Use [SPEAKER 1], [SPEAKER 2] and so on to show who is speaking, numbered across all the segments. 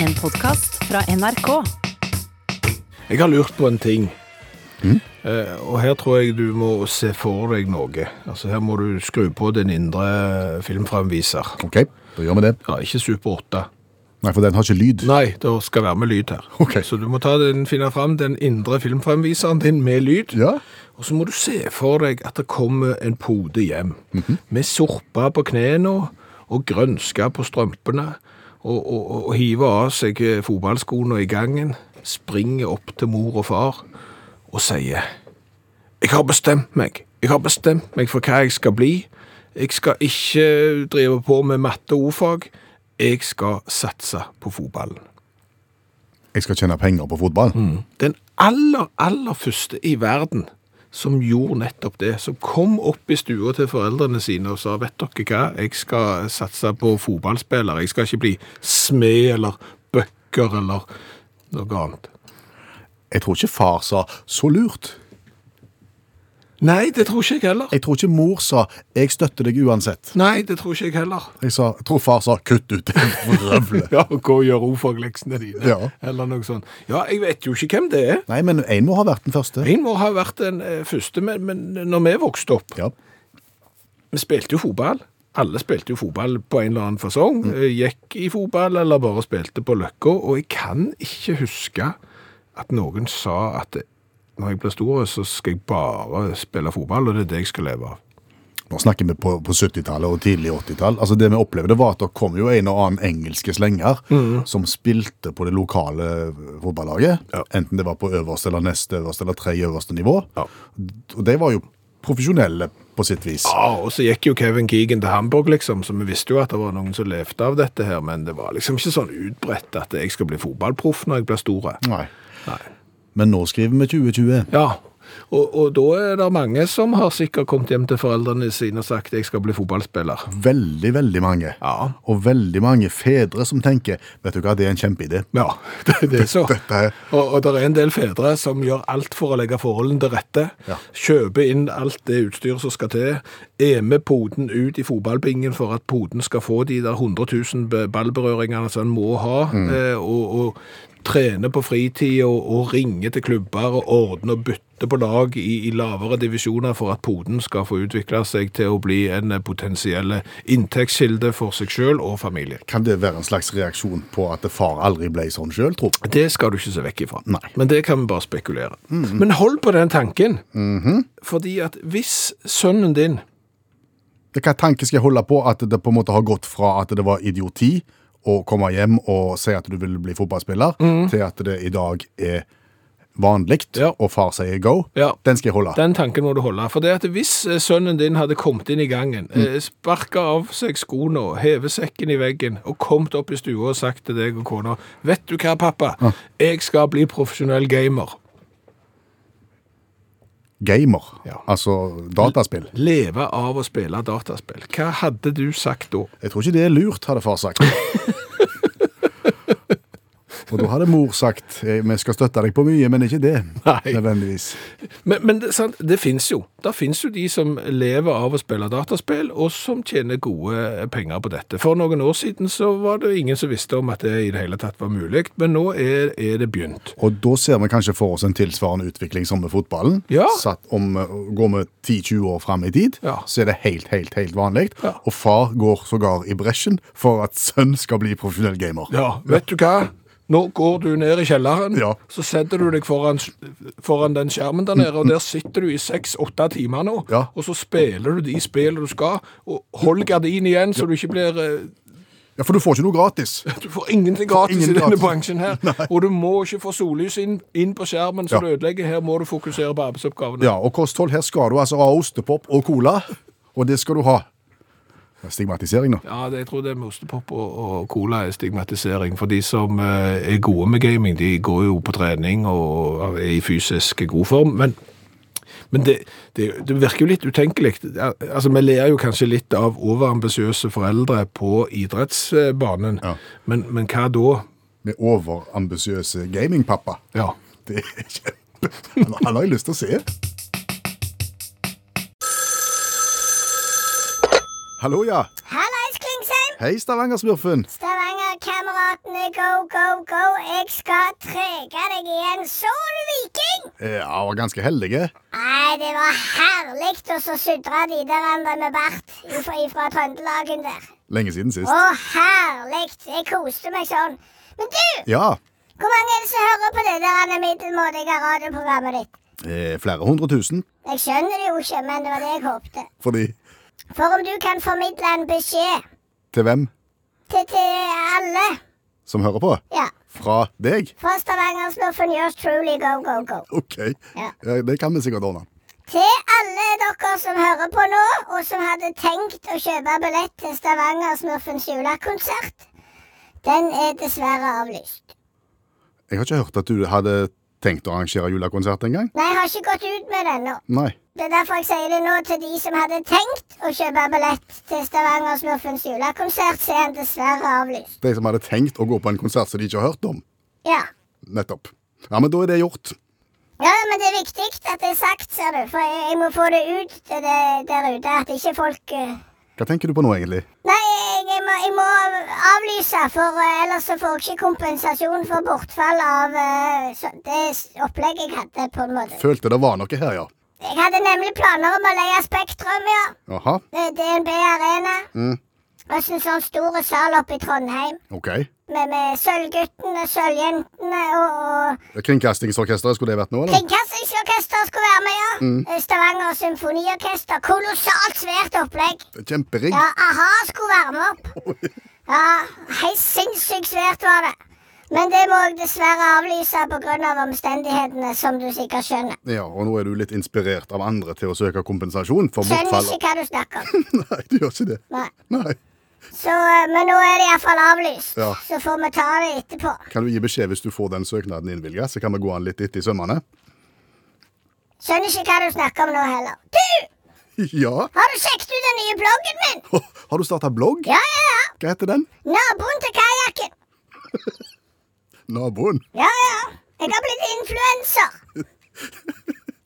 [SPEAKER 1] En podkast fra NRK.
[SPEAKER 2] Jeg har lurt på en ting.
[SPEAKER 3] Mm?
[SPEAKER 2] Eh, og her tror jeg du må se for deg noe. Altså Her må du skru på din indre filmframviser.
[SPEAKER 3] Ok, da gjør vi det.
[SPEAKER 2] Ja, ikke Super 8.
[SPEAKER 3] Nei, for den har ikke lyd.
[SPEAKER 2] Nei, det skal være med lyd her.
[SPEAKER 3] Ok.
[SPEAKER 2] Så du må ta den, finne fram den indre filmframviseren din med lyd.
[SPEAKER 3] Ja,
[SPEAKER 2] Og så må du se for deg at det kommer en pode hjem. Med sorpa på knærne og grønska på strømpene. Og, og, og- og hive av seg eh, fotballskoene i gangen. Springer opp til mor og far og sier Jeg har bestemt meg. Jeg har bestemt meg for hva jeg skal bli. Jeg skal ikke drive på med matte og ordfag. Jeg skal satse på fotballen.
[SPEAKER 3] jeg skal tjene penger på fotball.
[SPEAKER 2] Den aller, aller første i verden som gjorde nettopp det, som kom opp i stua til foreldrene sine og sa vet dere hva, jeg skal satse på fotballspiller, jeg skal ikke bli smed eller bøkker eller noe annet.
[SPEAKER 3] Jeg tror ikke far sa 'så lurt'.
[SPEAKER 2] Nei, det tror ikke jeg heller.
[SPEAKER 3] Jeg tror ikke mor sa 'jeg støtter deg uansett'.
[SPEAKER 2] Nei, det tror ikke jeg heller.
[SPEAKER 3] Jeg, sa, jeg tror far sa 'kutt ut det vrøvlet'.
[SPEAKER 2] Ja, gå og gjør ordfagleksene dine.
[SPEAKER 3] Ja.
[SPEAKER 2] Eller noe sånt. Ja, jeg vet jo ikke hvem det er.
[SPEAKER 3] Nei, men én må ha vært den første.
[SPEAKER 2] En må ha vært den eh, første, men, men når vi vokste opp,
[SPEAKER 3] Ja.
[SPEAKER 2] Vi spilte jo fotball. Alle spilte jo fotball på en eller annen fasong. Eh, Gikk i fotball eller bare spilte på løkka. Og jeg kan ikke huske at noen sa at når jeg blir stor, så skal jeg bare spille fotball, og det er det jeg skal leve av.
[SPEAKER 3] Nå snakker vi på, på 70-tallet og tidlig 80-tall. Altså Det vi opplevde, var at det kom jo en og annen engelske slenger som spilte på det lokale eh, fotballaget.
[SPEAKER 2] Mm. Ja.
[SPEAKER 3] Enten det var på øverste eller neste øverste eller tredje øverste nivå.
[SPEAKER 2] Ja.
[SPEAKER 3] Og de var jo profesjonelle på sitt vis.
[SPEAKER 2] Ja, Ah, og så gikk jo Kevin Keegan til Hamburg, liksom, så vi visste jo at det var noen som levde av dette her, men det var liksom ikke sånn utbredt at jeg skal bli fotballproff når jeg blir stor.
[SPEAKER 3] Nei. Men nå skriver vi 2020.
[SPEAKER 2] Ja, og, og da er det mange som har sikkert kommet hjem til foreldrene sine og sagt jeg skal bli fotballspiller.
[SPEAKER 3] Veldig, veldig mange.
[SPEAKER 2] Ja.
[SPEAKER 3] Og veldig mange fedre som tenker Vet du hva, det er en kjempeidé.
[SPEAKER 2] Ja, det, det er så.
[SPEAKER 3] Dette er-
[SPEAKER 2] Og, og det er en del fedre som gjør alt for å legge forholdene til rette.
[SPEAKER 3] Ja.
[SPEAKER 2] Kjøper inn alt det utstyr som skal til. Er med poden ut i fotballbingen for at poden skal få de der 100 000 be- ballberøringene som en må ha. Eh, og, og trener på fritid og, og ringer til klubber og ordner og bytter på lag i, i lavere divisjoner for at poden skal få utvikle seg til å bli en eh, potensiell inntektskilde for seg sjøl og familien.
[SPEAKER 3] Kan det være en slags reaksjon på at far aldri ble sånn sjøl, tro?
[SPEAKER 2] Det skal du ikke se vekk ifra.
[SPEAKER 3] Nei.
[SPEAKER 2] Men det kan vi bare spekulere. Men hold på den tanken. Fordi at hvis sønnen din
[SPEAKER 3] Hva tanke skal jeg holde på at det på en måte har gått fra at det var idioti å komme hjem og si at du vil bli fotballspiller, til at det i dag er vanlig,
[SPEAKER 2] Mhm. Ja.
[SPEAKER 3] og far sier go?
[SPEAKER 2] Ja.
[SPEAKER 3] Den skal jeg holde.
[SPEAKER 2] Den tanken må du holde. For det at hvis eh, sønnen din hadde kommet inn i gangen, mm. sparka av seg skoene, hevet sekken i veggen og kommet opp i stua og sagt til deg og kona Vet du hva, pappa? Jeg skal bli profesjonell gamer.
[SPEAKER 3] Gamer.
[SPEAKER 2] Ja.
[SPEAKER 3] Altså dataspill.
[SPEAKER 2] Leve av å spille dataspill. Hva hadde du sagt da?
[SPEAKER 3] Jeg tror ikke det er lurt, hadde far sagt. Og da hadde mor sagt eh, vi skal støtte deg på mye, men ikke det.
[SPEAKER 2] Nei.
[SPEAKER 3] Nødvendigvis.
[SPEAKER 2] Men, men det, sant, det finnes jo. Det finnes jo de som lever av å spille dataspill, og som tjener gode penger på dette. For noen år siden så var det ingen som visste om at det i det hele tatt var mulig, men nå er, er det begynt.
[SPEAKER 3] Og da ser vi kanskje for oss en tilsvarende utvikling som med fotballen.
[SPEAKER 2] Ja.
[SPEAKER 3] Satt om, eh, går vi 10-20 år fram i tid,
[SPEAKER 2] Ja.
[SPEAKER 3] så er det helt, helt, helt vanlig.
[SPEAKER 2] Ja.
[SPEAKER 3] Og far går sågar i bresjen for at sønn skal bli profesjonell gamer.
[SPEAKER 2] Ja, vet du hva? Nå går du ned i kjelleren,
[SPEAKER 3] Ja.
[SPEAKER 2] så setter du deg foran, foran den skjermen der nede, og der sitter du i seks-åtte timer nå,
[SPEAKER 3] Ja.
[SPEAKER 2] og så spiller du de spillene du skal, og hold gardinen igjen så du ikke blir eh,
[SPEAKER 3] Ja, For du får ikke noe gratis.
[SPEAKER 2] Du får ingenting gratis
[SPEAKER 3] Ingen
[SPEAKER 2] i denne
[SPEAKER 3] gratis.
[SPEAKER 2] bransjen her. Og du må ikke få sollys inn, inn på skjermen som
[SPEAKER 3] Ja.
[SPEAKER 2] du ødelegger. Her må du fokusere på arbeidsoppgavene.
[SPEAKER 3] Ja, Og kosthold, her skal du altså ha ostepop og cola, og det skal du ha. Det er Stigmatisering, nå.
[SPEAKER 2] Ja, det, jeg tror det med ostepop og, og cola er stigmatisering. For de som eh, er gode med gaming, de går jo på trening og er i fysisk god form. Men, men det, det, det virker jo litt utenkelig. Ja, Altså, Vi ler jo kanskje litt av overambisiøse foreldre på idrettsbanen,
[SPEAKER 3] Ja.
[SPEAKER 2] men, men hva da?
[SPEAKER 3] Med overambisiøse gamingpappa.
[SPEAKER 2] Ja.
[SPEAKER 3] Det er kjempe... Han han har jeg lyst til å se. Hallo, ja.
[SPEAKER 4] Hallais, Klingsheim!
[SPEAKER 3] Hei, Stavanger-smurfen.
[SPEAKER 4] Stavanger-kamera kameratene, go, go, go. Jeg skal trege deg igjen. Så du Viking?
[SPEAKER 3] Eh, Ja, var ganske eh. heldige.
[SPEAKER 4] Nei, det var herlig å så sudre de der andre med bart ifra, ifra Trøndelagen der.
[SPEAKER 3] Lenge siden sist.
[SPEAKER 4] Å, herlig. Jeg koste meg sånn. Men du,
[SPEAKER 3] Ja,
[SPEAKER 4] hvor mange er det som hører på det der andre middelmådige radioprogrammet ditt?
[SPEAKER 3] eh, flere hundre tusen,
[SPEAKER 4] Jeg skjønner det jo ikke, men det var det jeg håpte.
[SPEAKER 3] fordi
[SPEAKER 4] For om du kan formidle en beskjed
[SPEAKER 3] til hvem
[SPEAKER 4] til, til alle
[SPEAKER 3] som hører på?
[SPEAKER 4] Ja.
[SPEAKER 3] Fra deg?
[SPEAKER 4] Fra Stavanger-smurfen yours truly go, go, go.
[SPEAKER 3] OK,
[SPEAKER 4] Ja.
[SPEAKER 3] Eh, det kan vi sikkert ordne.
[SPEAKER 4] Til alle dere som hører på nå, og som hadde tenkt å kjøpe billett til Stavanger-smurfens julekonsert. Den er dessverre avlyst.
[SPEAKER 3] Jeg har ikke hørt at du hadde tenkt å arrangere julekonsert engang.
[SPEAKER 4] Nei, jeg har ikke gått ut med den nå.
[SPEAKER 3] Nei.
[SPEAKER 4] Det er derfor jeg sier det nå til de som hadde tenkt å kjøpe billett til Stavanger-smurfens julekonsert, så er den dessverre avlyst.
[SPEAKER 3] De som hadde tenkt å gå på en konsert som de ikke har hørt om.
[SPEAKER 4] Ja.
[SPEAKER 3] Nettopp. Ja, men da er det gjort.
[SPEAKER 4] Ja, men det er viktig at det er sagt, ser du. For jeg, jeg må få det ut til det, der ute. At ikke folk eh,
[SPEAKER 3] Hva tenker du på nå, egentlig?
[SPEAKER 4] Nei, jeg, jeg, må, jeg må avlyse, for eh, ellers så får jeg ikke kompensasjon for bortfall av eh, så, det s- opplegget jeg hadde, på en måte.
[SPEAKER 3] Følte det var noe her, ja.
[SPEAKER 4] Jeg hadde nemlig planer om å leie Spektrum, ja.
[SPEAKER 3] Jaha.
[SPEAKER 4] Det- DNB Arena.
[SPEAKER 3] Mm.
[SPEAKER 4] Og en sånn stor sal oppe i Trondheim.
[SPEAKER 3] OK.
[SPEAKER 4] Med, med Sølvguttene, Sølvjentene og, og
[SPEAKER 3] Kringkastingsorkesteret, skulle det vært nå, eller?
[SPEAKER 4] Kringkastingsorkester skulle være med, ja. Stavanger Symfoniorkester. Kolossalt svært opplegg.
[SPEAKER 3] Kjemperigg.
[SPEAKER 4] Ja, a-ha skulle varme opp. Ja, helt sinnssykt svært var det. Men det må jeg dessverre avlyse pga. Av omstendighetene, som du sikkert skjønner.
[SPEAKER 3] Ja, og nå er du litt inspirert av andre til å søke kompensasjon for
[SPEAKER 4] Skjønner
[SPEAKER 3] bortfall.
[SPEAKER 4] ikke hva du snakker om.
[SPEAKER 3] Nei, du gjør ikke det.
[SPEAKER 4] Nei.
[SPEAKER 3] Nei.
[SPEAKER 4] Så, eh, men nå er det iallfall avlyst.
[SPEAKER 3] Ja.
[SPEAKER 4] Så får vi ta det etterpå.
[SPEAKER 3] Kan du gi beskjed hvis du får den søknaden innvilga, så kan vi gå an litt etter i sømmene?
[SPEAKER 4] Skjønner ikke hva du snakker om nå heller. Du!
[SPEAKER 3] Ja.
[SPEAKER 4] Har du sjekket ut den nye bloggen min?
[SPEAKER 3] Har du starta blogg?
[SPEAKER 4] Ja, ja, ja.
[SPEAKER 3] Hva heter den?
[SPEAKER 4] Naboen til kajakken.
[SPEAKER 3] Naboen.
[SPEAKER 4] Ja, ja. Jeg har blitt influenser.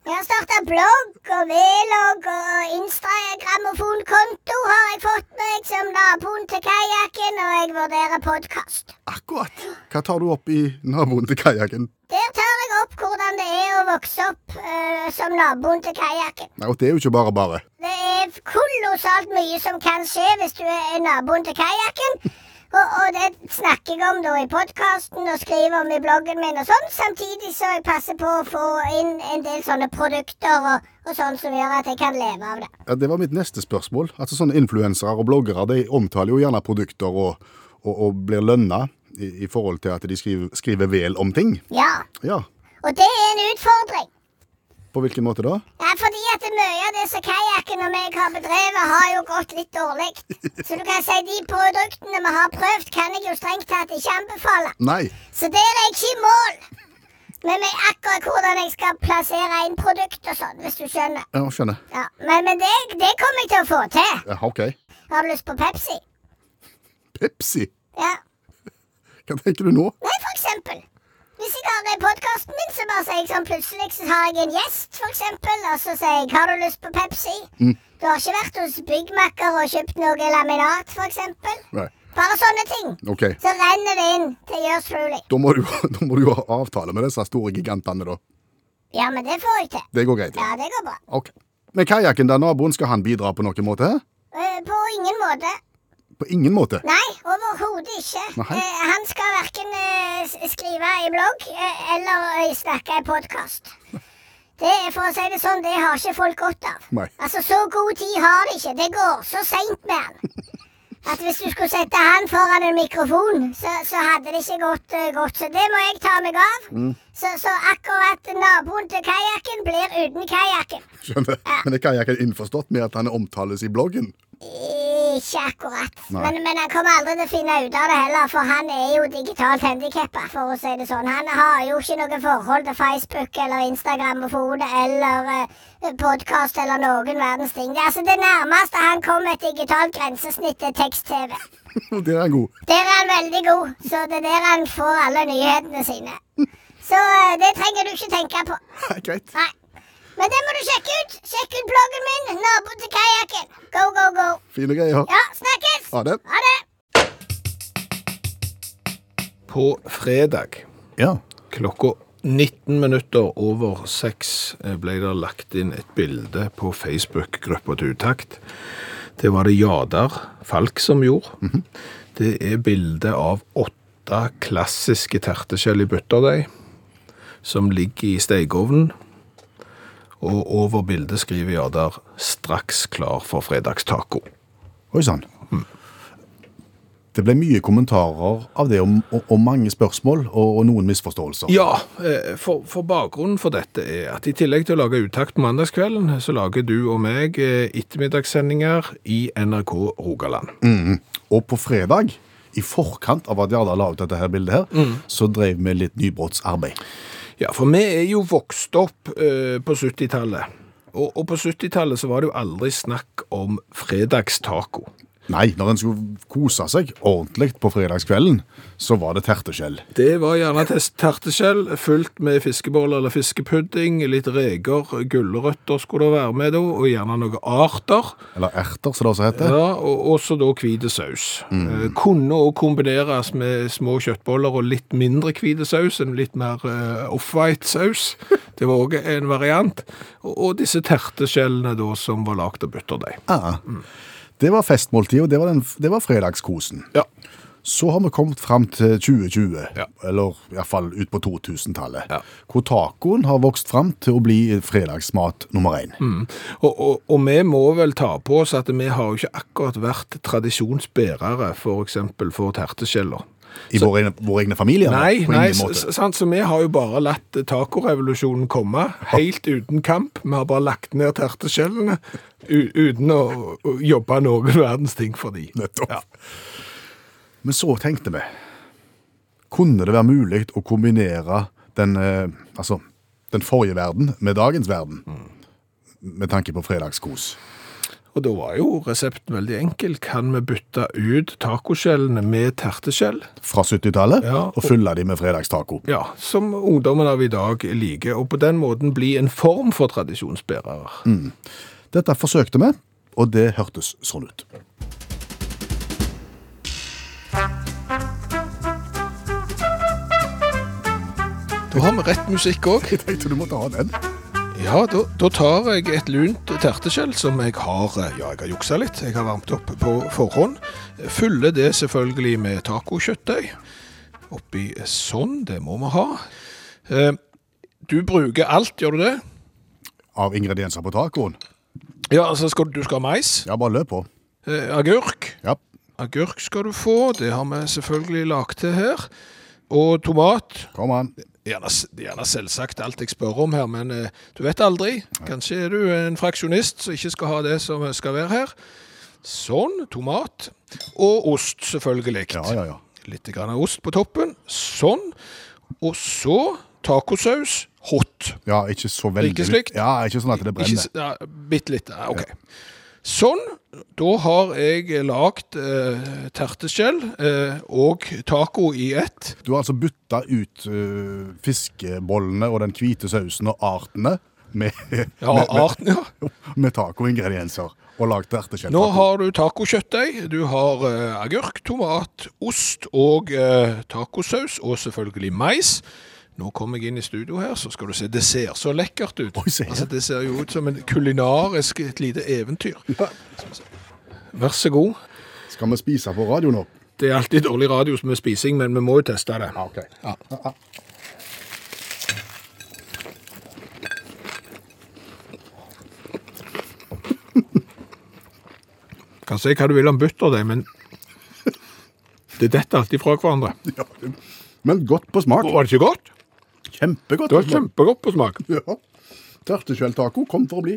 [SPEAKER 4] Jeg har starta blogg og vlogg og Instagram-konto har jeg fått meg som naboen til kajakken, og jeg vurderer podkast.
[SPEAKER 3] Akkurat. Hva tar du opp i naboen til kajakken?
[SPEAKER 4] Der tar jeg opp hvordan det er å vokse opp eh, som naboen til kajakken.
[SPEAKER 3] Nei, og det er jo ikke bare bare.
[SPEAKER 4] Det er kolossalt mye som kan skje hvis du er naboen til kajakken. Og, og det snakker jeg om da i podkasten og skriver om i bloggen min og sånn. Samtidig så jeg passer på å få inn en del sånne produkter og, og sånn som gjør at jeg kan leve av det.
[SPEAKER 3] Ja, det var mitt neste spørsmål. Altså Sånne influensere og bloggere de omtaler jo gjerne produkter og, og, og blir lønna i, i forhold til at de skriver, skriver vel om ting.
[SPEAKER 4] Ja.
[SPEAKER 3] Ja.
[SPEAKER 4] Og det er en utfordring.
[SPEAKER 3] På hvilken måte da?
[SPEAKER 4] Ja, fordi at mye av det som kajakken og meg har bedrevet, har jo gått litt dårlig. Så du kan si de produktene vi har prøvd, kan jeg jo strengt tatt ikke anbefale.
[SPEAKER 3] Nei.
[SPEAKER 4] Så der er jeg ikke i mål med meg akkurat hvordan jeg skal plassere inn produkt og sånn, hvis du skjønner.
[SPEAKER 3] Ja, skjønner.
[SPEAKER 4] Ja, Men, men det, det kommer jeg til å få til.
[SPEAKER 3] Ja, OK.
[SPEAKER 4] Har du lyst på Pepsi?
[SPEAKER 3] Pepsi.
[SPEAKER 4] Ja.
[SPEAKER 3] Hva tenker du nå?
[SPEAKER 4] Nei, for eksempel. Hvis jeg har podkasten min, så bare sier jeg sånn plutselig så har jeg en gjest, for eksempel, og så sier jeg 'Har du lyst på Pepsi?'
[SPEAKER 3] Mm.
[SPEAKER 4] Du har ikke vært hos byggmakker og kjøpt noe laminat, for eksempel.
[SPEAKER 3] Nei.
[SPEAKER 4] Bare sånne ting.
[SPEAKER 3] OK.
[SPEAKER 4] Så renner det inn til Yours Truly.
[SPEAKER 3] Da må, du, da må du jo ha avtale med disse store gigantene, da.
[SPEAKER 4] Ja, men det får jeg til.
[SPEAKER 3] Det går greit?
[SPEAKER 4] Ja, det går bra.
[SPEAKER 3] OK. Men kajakken der naboen, skal han bidra på noen måte?
[SPEAKER 4] Eh, På ingen måte.
[SPEAKER 3] På ingen måte.
[SPEAKER 4] Nei, overhodet ikke.
[SPEAKER 3] Nei.
[SPEAKER 4] Eh, han skal verken eh, s- skrive i blogg eh, eller eh, snakke i podkast. Det, er- for å si det sånn, det har ikke folk godt av.
[SPEAKER 3] Nei.
[SPEAKER 4] Altså, Så god tid har de ikke. Det går så seint med han. At Hvis du skulle sette han foran en mikrofon, så, så hadde det ikke gått eh, godt. Så det må jeg ta meg av.
[SPEAKER 3] Mm.
[SPEAKER 4] Så, så akkurat naboen til kajakken blir uten kajakken.
[SPEAKER 3] Skjønner. Men er kajakken innforstått med at han omtales i bloggen?
[SPEAKER 4] Ikke akkurat.
[SPEAKER 3] Nei.
[SPEAKER 4] Men, men han kommer aldri til å finne ut av det heller, for han er jo digitalt handikappa, for å si det sånn. Han har jo ikke noe forhold til Facebook eller Instagramofone eller eh, podkast eller noen verdens ting. Det, er altså, det nærmeste han kom et digitalt grensesnitt, er tekst-TV.
[SPEAKER 3] Der er han god.
[SPEAKER 4] Der er han veldig god, så det er der han får alle nyhetene sine. Så eh, det trenger du ikke tenke på.
[SPEAKER 3] greit.
[SPEAKER 4] Nei. Men det må du sjekke ut. Sjekk ut bloggen min, 'Naboen til kajakken'. Go, go, go.
[SPEAKER 3] Fine greier.
[SPEAKER 4] Ja, snakkes!
[SPEAKER 3] Ha det.
[SPEAKER 4] Ha det!
[SPEAKER 2] på fredag
[SPEAKER 3] Ja.
[SPEAKER 2] klokka 19 minutter over seks eh, ble det lagt inn et bilde på Facebook-gruppa til Utakt. Det var det Jadar Falk som gjorde. Det er bilde av åtte klassiske terteskjell i butterdeig som ligger i stekeovnen. Og over bildet skriver Jadar 'straks klar for fredagstaco'.
[SPEAKER 3] Oi sann. Det ble mye kommentarer av det, og, og, og mange spørsmål og, og noen misforståelser.
[SPEAKER 2] Ja, eh, for, for bakgrunnen for dette er at i tillegg til å lage uttakt på mandagskvelden, så lager du og meg eh, ettermiddagssendinger i NRK Rogaland.
[SPEAKER 3] Og på fredag, i forkant av at Jarda la ut dette her bildet, her, så drev vi litt nybrottsarbeid.
[SPEAKER 2] Ja, for vi er jo vokst opp eh, på 70-tallet. Og, og på 70-tallet så var det jo aldri snakk om fredagstaco.
[SPEAKER 3] Nei, når en skulle kose seg ordentlig på fredagskvelden, så var det terteskjell.
[SPEAKER 2] Det var gjerne tes- terteskjell fullt med fiskeboller eller fiskepudding, litt reker, gulrøtter skulle det være med da, og gjerne noen arter.
[SPEAKER 3] Eller erter, som det også heter.
[SPEAKER 2] Ja, og også da hvite saus. Eh, kunne også kombineres med små kjøttboller og litt mindre hvite saus, en litt mer eh, off-white saus. Det var også en variant. Og, og disse terteskjellene da som var lagd av butterdeig.
[SPEAKER 3] Ah. Det var festmåltidet, og det var, den, det var fredagskosen.
[SPEAKER 2] Ja.
[SPEAKER 3] Så har vi kommet fram til 2020,
[SPEAKER 2] Ja.
[SPEAKER 3] eller iallfall ut på 2000-tallet,
[SPEAKER 2] Ja.
[SPEAKER 3] hvor tacoen har vokst fram til å bli fredagsmat nummer én.
[SPEAKER 2] Mm. Og, og, og vi må vel ta på oss at vi har jo ikke akkurat vært tradisjonsbærere, f.eks. for, for terteskjeller.
[SPEAKER 3] I våre, egne- våre egne familier?
[SPEAKER 2] Nei,
[SPEAKER 3] på
[SPEAKER 2] nei
[SPEAKER 3] ingen
[SPEAKER 2] s-
[SPEAKER 3] måte.
[SPEAKER 2] s- sant? så vi har jo bare latt tacorevolusjonen komme, helt uten kamp. Vi har bare lagt ned terteskjellene u- uten å å jobbe noen verdens ting for de.
[SPEAKER 3] Nettopp. Men så tenkte vi Kunne det være mulig å kombinere den, eh, altså, den forrige verden med dagens verden?
[SPEAKER 2] Mm.
[SPEAKER 3] Med tanke på fredagskos.
[SPEAKER 2] Og da var jo resepten veldig enkel. Kan vi bytte ut tacoskjellene med terteskjell?
[SPEAKER 3] Fra 70-tallet,
[SPEAKER 2] Ja,
[SPEAKER 3] og fylle de med fredagstaco.
[SPEAKER 2] Ja, som ungdommen av i dag liker, og på den måten bli en form for tradisjonsbærere.
[SPEAKER 3] Mm. Dette forsøkte vi, og det hørtes sånn ut.
[SPEAKER 2] Da har vi rett musikk òg.
[SPEAKER 3] Jeg tenkte du måtte ha den.
[SPEAKER 2] Ja, da, da tar jeg et lunt terteskjell som jeg har eh, Ja, jeg har juksa litt. Jeg har varmt opp på forhånd. Fyller det selvfølgelig med tacokjøttdeig. Oppi sånn. Det må vi ha. Eh, Du bruker alt, gjør du det?
[SPEAKER 3] Av ingredienser på tacoen.
[SPEAKER 2] Ja, altså skal, du skal ha mais.
[SPEAKER 3] Ja, bare løp på.
[SPEAKER 2] Eh, agurk.
[SPEAKER 3] Ja.
[SPEAKER 2] Agurk skal du få. Det har vi selvfølgelig lagt til her. Og tomat.
[SPEAKER 3] Kom an.
[SPEAKER 2] Gjerne, gjerne selvsagt alt jeg spør om her, men eh, du vet aldri. Kanskje er du en fraksjonist som ikke skal ha det som skal være her. Sånn. Tomat. Og ost, selvfølgelig.
[SPEAKER 3] Ja, ja, ja.
[SPEAKER 2] Litt grann av ost på toppen. Sånn. Og så tacosaus. Hot.
[SPEAKER 3] Ja, ikke så veldig
[SPEAKER 2] Ikke slikt?
[SPEAKER 3] Ja, ikke sånn at det
[SPEAKER 2] Ikke,
[SPEAKER 3] brenner.
[SPEAKER 2] s- ja, bitte litt. Ja, OK. Sånn. Da har jeg lagd eh, terteskjell eh, og taco i ett.
[SPEAKER 3] Du har altså bytta ut eh, fiskebollene og den hvite sausen og artene med,
[SPEAKER 2] Ja,
[SPEAKER 3] med,
[SPEAKER 2] arten, ja.
[SPEAKER 3] med, med tacoingredienser og lagd ertekjøtt.
[SPEAKER 2] Nå har du tacokjøttdeig, du har eh, agurk, tomat, ost og eh, tacosaus, og selvfølgelig mais. Nå kommer jeg inn i studio her, så skal du se. Det ser så lekkert ut.
[SPEAKER 3] Oi, se her.
[SPEAKER 2] altså, det ser jo ut som en kulinarisk, et lite eventyr. Vær så god.
[SPEAKER 3] Skal vi spise på radio nå?
[SPEAKER 2] Det er alltid dårlig radio med spising, men vi må jo teste det.
[SPEAKER 3] Ja, ok.
[SPEAKER 2] Ja. Kan si hva du vil om butterdeig, men det detter alltid fra hverandre.
[SPEAKER 3] Ja. Men godt på smak.
[SPEAKER 2] Var det ikke godt?
[SPEAKER 3] Kjempegodt.
[SPEAKER 2] Det
[SPEAKER 3] på
[SPEAKER 2] var
[SPEAKER 3] smak.
[SPEAKER 2] kjempegodt på smak.
[SPEAKER 3] Ja. Tertekjelltaco kom for å bli.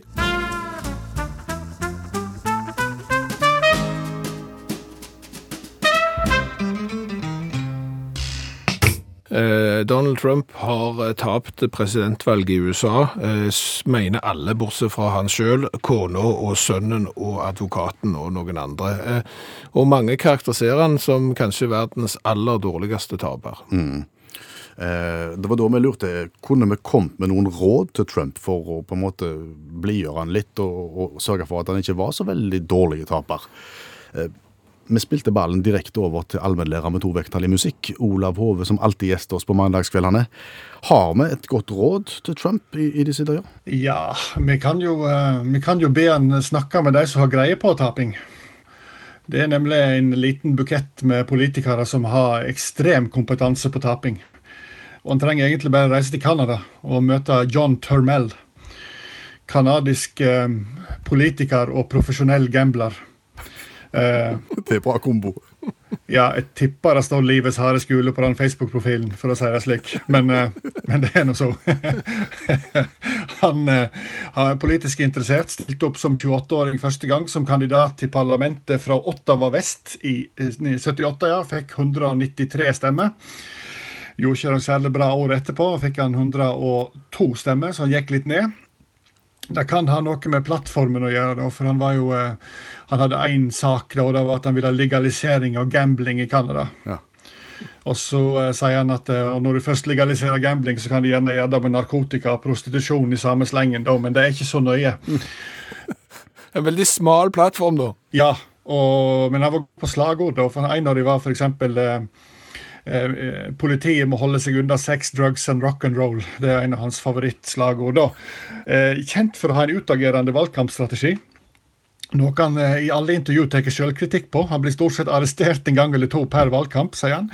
[SPEAKER 2] Eh, Donald Trump har eh, tapt presidentvalget i USA, eh, s- mener alle, bortsett fra han sjøl, kona og sønnen og advokaten og noen andre. Eh, og mange karakteriserer han som kanskje verdens aller dårligste taper.
[SPEAKER 3] Eh, det var da vi lurte kunne vi kommet med noen råd til Trump for å på en måte blidgjøre han litt og, og sørge for at han ikke var så veldig dårlig taper. Eh, Vi spilte ballen direkte over til allmennlærer med to vekttall i musikk, Olav Hove, som alltid gjester oss på mandagskveldene. Har vi et godt råd til Trump i, i disse dager?
[SPEAKER 5] Ja, vi kan, jo, eh, vi kan jo be han snakke med de som har greie på tapping. Det er nemlig en liten bukett med politikere som har ekstrem kompetanse på taping. Og han trenger egentlig bare reise til Canada og møte John Turmell. Kanadisk eh, politiker og profesjonell gambler. Eh,
[SPEAKER 3] Det er bra kombo.
[SPEAKER 5] ja, jeg tipper det står 'Livets harde skole' på den Facebook-profilen, for å si det slik. Men, eh, men det er nå så. han, eh, han er politisk interessert, stilte opp som 28-åring første gang som kandidat til parlamentet fra Ottawa vest i eh, 78, ja. Fikk 193 stemmer. Gjorde ikke noe særlig bra året etterpå, fikk han 102 stemmer, så han gikk litt ned. Det kan ha noe med plattformen å gjøre, da, for han var jo eh, Han hadde én sak, da, og det var at han ville ha legalisering av gambling i Canada.
[SPEAKER 3] Ja.
[SPEAKER 5] Og så eh, sier han at eh, når du først legaliserer gambling, så kan du gjerne gjøre det med narkotika og prostitusjon i samme slengen, da, men det er ikke så nøye.
[SPEAKER 2] En veldig smal plattform, da.
[SPEAKER 5] Ja, og, men han var på slagord, da, for en av dem var f.eks. Eh, eh, Politiet må holde seg unna sex, drugs and rock'n'roll. Det er en av hans favorittslagord. da. Eh, kjent for å ha en utagerende valgkampstrategi. Noe han eh, i alle intervju tar selvkritikk på. Han blir stort sett arrestert en gang eller to per valgkamp, sier han.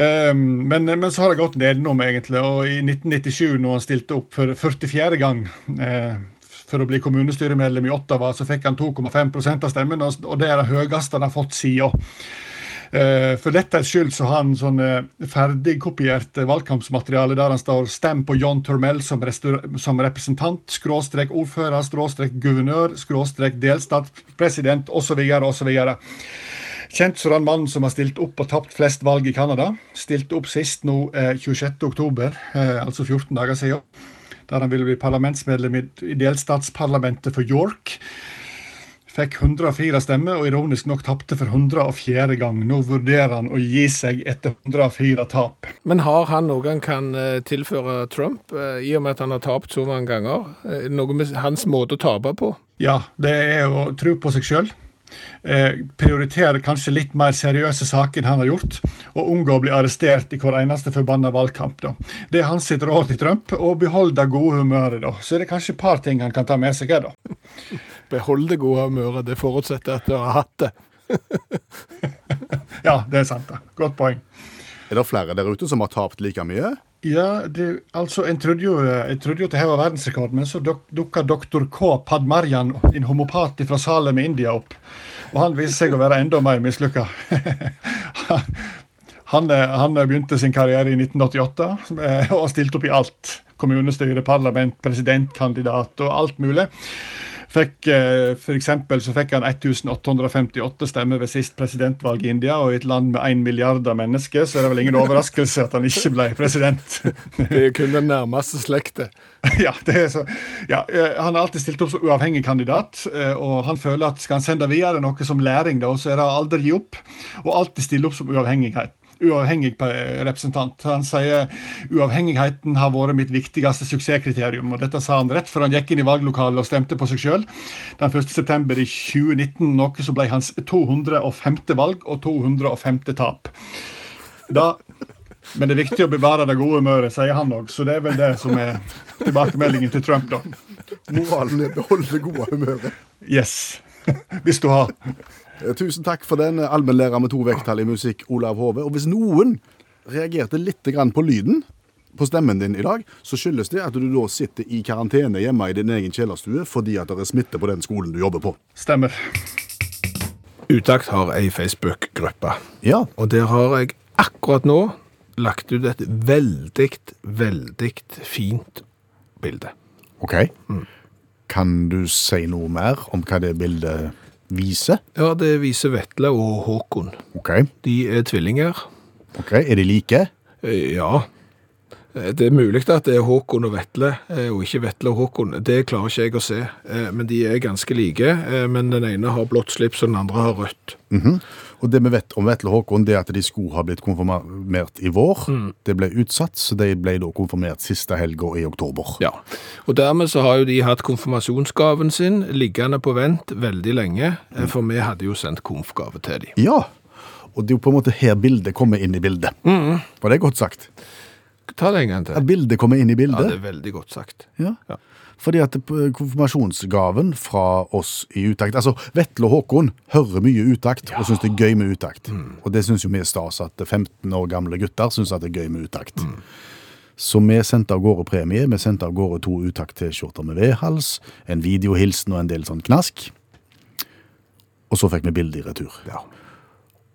[SPEAKER 5] Ehm, men, men så har det gått nedenom, egentlig. Og i 1997, når han stilte opp for 44. gang eh, for å bli kommunestyremedlem i Ottawa, så fikk han 2,5 av stemmen, og, og det er det høyeste han har fått siden. Eh, for dette skyld så har han sånn eh, ferdigkopiert eh, valgkampsmateriale der han står 'stem på John Turmell som, restaur- som representant', skråstrek ordfører, skråstrek guvernør, skråstrek delstatspresident osv. osv. Kjent som den mannen som har stilt opp og tapt flest valg i Canada. Stilte opp sist nå eh, 26.10, eh, altså 14 dager siden. Der han ville bli parlamentsmedlem i, i delstatsparlamentet for York. Fikk 104 stemmer, og ironisk nok tapte for 104 gang. Nå vurderer han å gi seg etter 104 tap.
[SPEAKER 2] Men har han noe han kan eh, tilføre Trump, eh, i og med at han har tapt så mange ganger? Eh, Noe med hans måte å tape på?
[SPEAKER 5] Ja, det er å tro på seg sjøl. Eh, prioritere kanskje litt mer seriøse saker enn han har gjort, og unngå å bli arrestert i hver eneste forbanna valgkamp. da. Det er hans sitt råd til Trump, å beholde det gode humøret. da. Så er det kanskje et par ting han kan ta med seg her, da.
[SPEAKER 2] Behold det gode humøret, det forutsetter at du har hatt det.
[SPEAKER 5] Ja, det er sant. da. Godt poeng.
[SPEAKER 3] Er det flere der ute som har tapt like mye?
[SPEAKER 5] Ja, det, altså, En trodde jo, jeg trodde jo at dette var verdensrekord, men så duk, dukka doktor K. Padmarjan, en homopat fra Salem i India, opp. Og han viste seg å være enda mer mislykka. han, eh, han begynte sin karriere i 1988 eh, og stilte opp i alt. Kommunestyre, parlament, presidentkandidat og alt mulig. Fikk, eh, for eksempel så fikk han 1858 stemmer ved sist presidentvalg i India, og i et land med 1 milliard av mennesker, så er det vel ingen overraskelse at han ikke ble president.
[SPEAKER 2] Det er kun den nærmeste slektet.
[SPEAKER 5] ja, det er så, ja, eh, han har alltid stilt opp som uavhengig kandidat, eh, og han føler at skal han sende videre noe som læring, da, så er det å aldri gi opp, og alltid stille opp som uavhengighet. Uavhengig eh, representant. Han sier uavhengigheten har vært mitt viktigste suksesskriterium. og Dette sa han rett før han gikk inn i valglokalet og stemte på seg sjøl den 1. september i 2019, noe som ble hans 205. valg og 205. tap. Da, men det er viktig å bevare det gode humøret, sier han òg. Så det er vel det som er tilbakemeldingen til Trump, da.
[SPEAKER 3] Moralen er behold det gode humøret.
[SPEAKER 5] Yes. Hvis du har.
[SPEAKER 3] Eh, Tusen takk for den, eh, allmennlærer med to vekttall i musikk, Olav Hove. Og hvis noen reagerte litt grann på lyden på stemmen din i dag, så skyldes det at du da sitter i karantene hjemme i din egen kjellerstue fordi at det er smitte på den skolen du jobber på.
[SPEAKER 5] Stemmer.
[SPEAKER 2] Utakt har ei Facebook-gruppe,
[SPEAKER 3] Ja,
[SPEAKER 2] og der har jeg akkurat nå lagt ut et veldig, veldig fint bilde.
[SPEAKER 3] ok. Kan du si noe mer om hva det bildet viser?
[SPEAKER 2] Ja, det viser Vetle og Håkon.
[SPEAKER 3] Ok,
[SPEAKER 2] De er tvillinger.
[SPEAKER 3] ok. Er de like?
[SPEAKER 2] Eh, Ja. Eh, Det er mulig at det er Håkon og Vetle, eh, og ikke Vetle og Håkon. Det klarer ikke jeg å se. Eh, Men de er ganske like. eh, Men den ene har blått slips, og den andre har rødt.
[SPEAKER 3] Og det vi vet om Vetle og Håkon, det er at de skulle ha blitt konfirmert i vår. Det ble utsatt, så de ble da konfirmert siste helga i oktober.
[SPEAKER 2] Ja, og dermed så har jo de hatt konfirmasjonsgaven sin liggende på vent veldig lenge, eh, for vi hadde jo sendt konfgave til de.
[SPEAKER 3] Ja, Og det er jo på en måte her bildet kommer inn i bildet. Var det godt sagt?
[SPEAKER 2] Ta det en gang
[SPEAKER 3] Ja,
[SPEAKER 2] til.
[SPEAKER 3] bildet kommer inn
[SPEAKER 2] Ja,
[SPEAKER 3] i
[SPEAKER 2] det
[SPEAKER 3] bildet.
[SPEAKER 2] er veldig godt sagt.
[SPEAKER 3] Ja,
[SPEAKER 2] Ja.
[SPEAKER 3] Fordi at eh, konfirmasjonsgaven fra oss i utakt Altså, Vetle og Håkon hører mye utakt og syns det er gøy med utakt.
[SPEAKER 2] Mm.
[SPEAKER 3] Og det syns jo vi er stas at 15 år gamle gutter syns at det er gøy med utakt.
[SPEAKER 2] Mm.
[SPEAKER 3] Så vi sendte av gårde premie. Vi sendte av gårde to utakt-T-skjorter med vedhals, en videohilsen og en del sånn knask. Og så fikk vi bildet i retur.
[SPEAKER 2] Ja.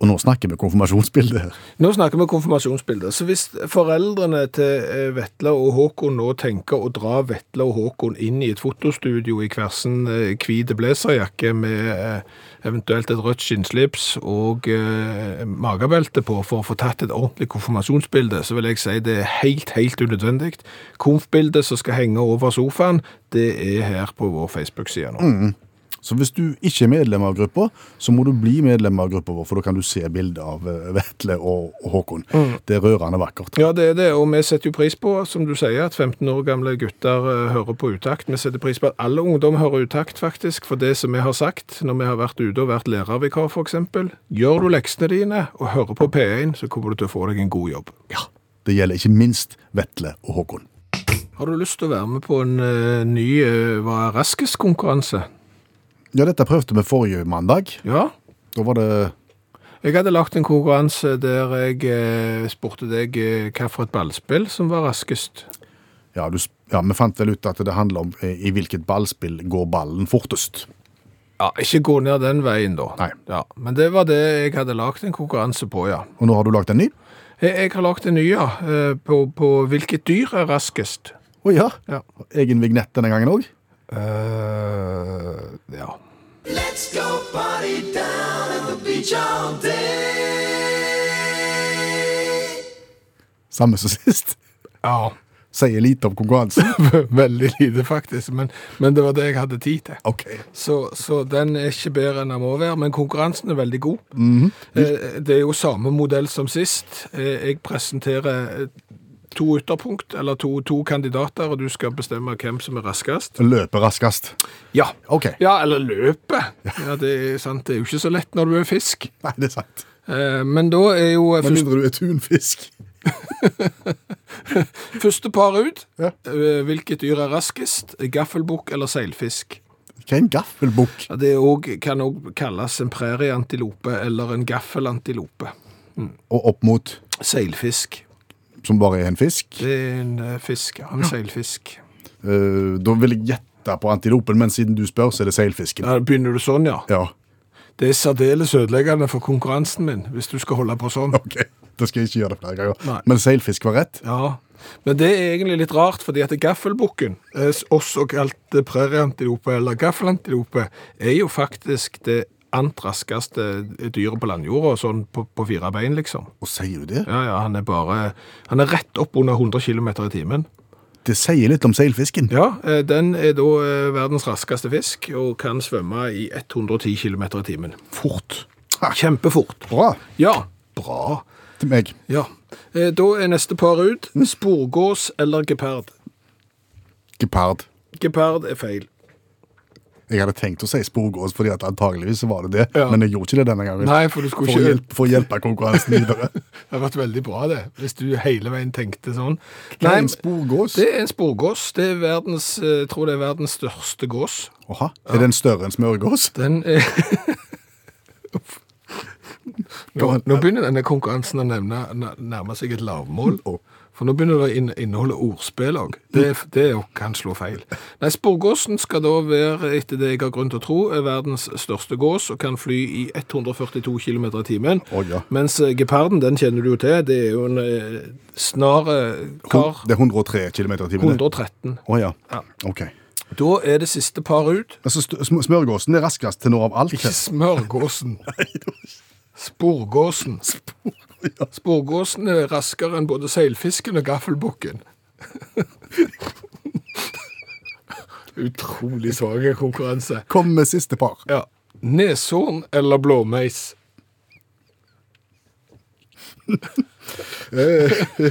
[SPEAKER 3] Og nå snakker vi konfirmasjonsbildet her.
[SPEAKER 2] Nå snakker vi konfirmasjonsbilder. Så hvis foreldrene til eh, Vetle og Håkon nå tenker å dra Vetle og Håkon inn i et fotostudio i hver sin eh, hvite blazerjakke med eh, eventuelt et rødt skinnslips og eh, magebelte på for å få tatt et ordentlig konfirmasjonsbilde, så vil jeg si det er helt, helt unødvendig. Konfbildet som skal henge over sofaen, det er her på vår Facebook-side nå.
[SPEAKER 3] Så hvis du ikke er medlem av gruppa, så må du bli medlem av gruppa vår, for da kan du se bildet av eh, Vetle og og Håkon. Det er rørende vakkert.
[SPEAKER 2] Ja, det er det, og vi setter jo pris på, som du sier, at 15 år gamle gutter eh, hører på utakt. Vi setter pris på at alle ungdom hører utakt, faktisk, for det som vi har sagt når vi har vært ute og vært lærervikar, f.eks. Gjør du leksene dine og hører på P1, så kommer du til å få deg en god jobb.
[SPEAKER 3] Ja. Det gjelder ikke minst Vetle og Håkon.
[SPEAKER 2] Har du lyst til å være med på en eh, ny eh, Hva er raskest-konkurranse?
[SPEAKER 3] Ja, dette prøvde vi forrige mandag.
[SPEAKER 2] Ja.
[SPEAKER 3] Da var det
[SPEAKER 2] Jeg hadde lagt en konkurranse der jeg eh, spurte deg eh, hva for et ballspill som var raskest.
[SPEAKER 3] ja, du, s- ja, vi fant vel ut at det handler om eh, i hvilket ballspill går ballen fortest.
[SPEAKER 2] Ja, ikke gå ned den veien, da.
[SPEAKER 3] Nei.
[SPEAKER 2] Ja, men det var det jeg hadde lagt en konkurranse på, ja.
[SPEAKER 3] Og nå har du lagd en ny?
[SPEAKER 2] Jeg, jeg har lagt en ny, ja. eh, På, på hvilket dyr er raskest.
[SPEAKER 3] Å ja.
[SPEAKER 2] Ja.
[SPEAKER 3] Egen vignett denne gangen òg?
[SPEAKER 2] Eh, ja.
[SPEAKER 3] Samme som sist.
[SPEAKER 2] ja.
[SPEAKER 3] Sier lite om konkurransen.
[SPEAKER 2] Veldig lite, faktisk. Men, men det var det jeg hadde tid til.
[SPEAKER 3] OK.
[SPEAKER 2] Så, så den er ikke bedre enn den må være, men konkurransen er veldig god. Eh, Det er jo samme modell som sist. Eh, Jeg presenterer eh, to ytterpunkt, eller to, to kandidater, og du skal bestemme hvem som er raskest.
[SPEAKER 3] Løper raskest.
[SPEAKER 2] Ja.
[SPEAKER 3] OK.
[SPEAKER 2] Ja, eller løpet. Ja, det er sant. Det er jo ikke så lett når du er fisk.
[SPEAKER 3] Nei, det er sant.
[SPEAKER 2] Eh, Men da er jo
[SPEAKER 3] Med
[SPEAKER 2] første,
[SPEAKER 3] mindre du er tunfisk.
[SPEAKER 2] første par ut.
[SPEAKER 3] Ja.
[SPEAKER 2] Eh, Hvilket dyr er raskest? Gaffelbukk eller seilfisk?
[SPEAKER 3] Hva er en gaffelbukk?
[SPEAKER 2] Ja, det er også, kan òg kalles en prærieantilope eller en gaffelantilope.
[SPEAKER 3] Og opp mot
[SPEAKER 2] Seilfisk.
[SPEAKER 3] som bare er en fisk.
[SPEAKER 2] Det er en eh, fisk, ja. En seilfisk.
[SPEAKER 3] Eh, da vil jeg gjette på antilopen, men siden du spør, så er det seilfisken.
[SPEAKER 2] Ja, begynner du sånn, ja?
[SPEAKER 3] Ja,
[SPEAKER 2] Det er særdeles ødeleggende for konkurransen min, hvis du skal holde på sånn.
[SPEAKER 3] ok. Da skal jeg ikke gjøre det flere ganger.
[SPEAKER 2] Nei.
[SPEAKER 3] Men seilfisk var rett.
[SPEAKER 2] Ja, men det er egentlig litt rart, fordi at gaffelbukken, eh, også kalt prærieantilope eller gaffelantilope, er jo faktisk det antraskeste dyret på landjorda, sånn på, på fire bein, liksom.
[SPEAKER 3] Og sier du det?
[SPEAKER 2] Ja, ja, han er bare Han er rett opp under 100 km i timen.
[SPEAKER 3] Det sier litt om seilfisken.
[SPEAKER 2] Ja, eh, den er da eh, verdens raskeste fisk, og kan svømme i 110 km i timen. Fort.
[SPEAKER 3] Ha.
[SPEAKER 2] Kjempefort.
[SPEAKER 3] Bra.
[SPEAKER 2] Ja.
[SPEAKER 3] Bra. Til meg.
[SPEAKER 2] ja. Eh, Da er neste par ut. Sporgås eller gepard?
[SPEAKER 3] Gepard.
[SPEAKER 2] Gepard er feil.
[SPEAKER 3] Jeg hadde tenkt å si sporgås, fordi at antageligvis så var det det.
[SPEAKER 2] Ja.
[SPEAKER 3] Men jeg gjorde ikke det denne gangen.
[SPEAKER 2] Nei, for du skulle
[SPEAKER 3] for, å
[SPEAKER 2] ikke-
[SPEAKER 3] hjelpe, for å hjelpe konkurransen videre.
[SPEAKER 2] Det hadde vært veldig bra det, hvis du hele veien tenkte sånn.
[SPEAKER 3] Hva er en sporgås?
[SPEAKER 2] Det er en sporgås. Det er verdens, eh, jeg tror det er verdens største gås.
[SPEAKER 3] Aha. Er den større enn smørgås?
[SPEAKER 2] Den eh, er... Nå, nå begynner denne konkurransen å nevne, n- nærme seg et lavmål.
[SPEAKER 3] Mm.
[SPEAKER 2] For nå begynner det å inn- inneholde ordspill òg. Det, det jo kan slå feil. Nei, Sporgåsen skal da være, etter det jeg har grunn til å tro, er verdens største gås og kan fly i 142 km i timen.
[SPEAKER 3] Å, ja.
[SPEAKER 2] Mens eh, geparden, den kjenner du jo til, det er jo en eh, snar eh, kar.
[SPEAKER 3] Det er 103 km i timen. det.
[SPEAKER 2] 113.
[SPEAKER 3] Å ja.
[SPEAKER 2] Ja.
[SPEAKER 3] Ok.
[SPEAKER 2] Da er det siste par ut.
[SPEAKER 3] Altså, st- sm- smørgåsen er raskest til nå av alt.
[SPEAKER 2] Ikke smørgåsen. Sporgåsen. Sporgåsen er raskere enn både seilfisken og gaffelbukken. Utrolig svak konkurranse.
[SPEAKER 3] Kom med siste par.
[SPEAKER 2] Ja. Neshorn eller blåmeis?
[SPEAKER 3] Eh,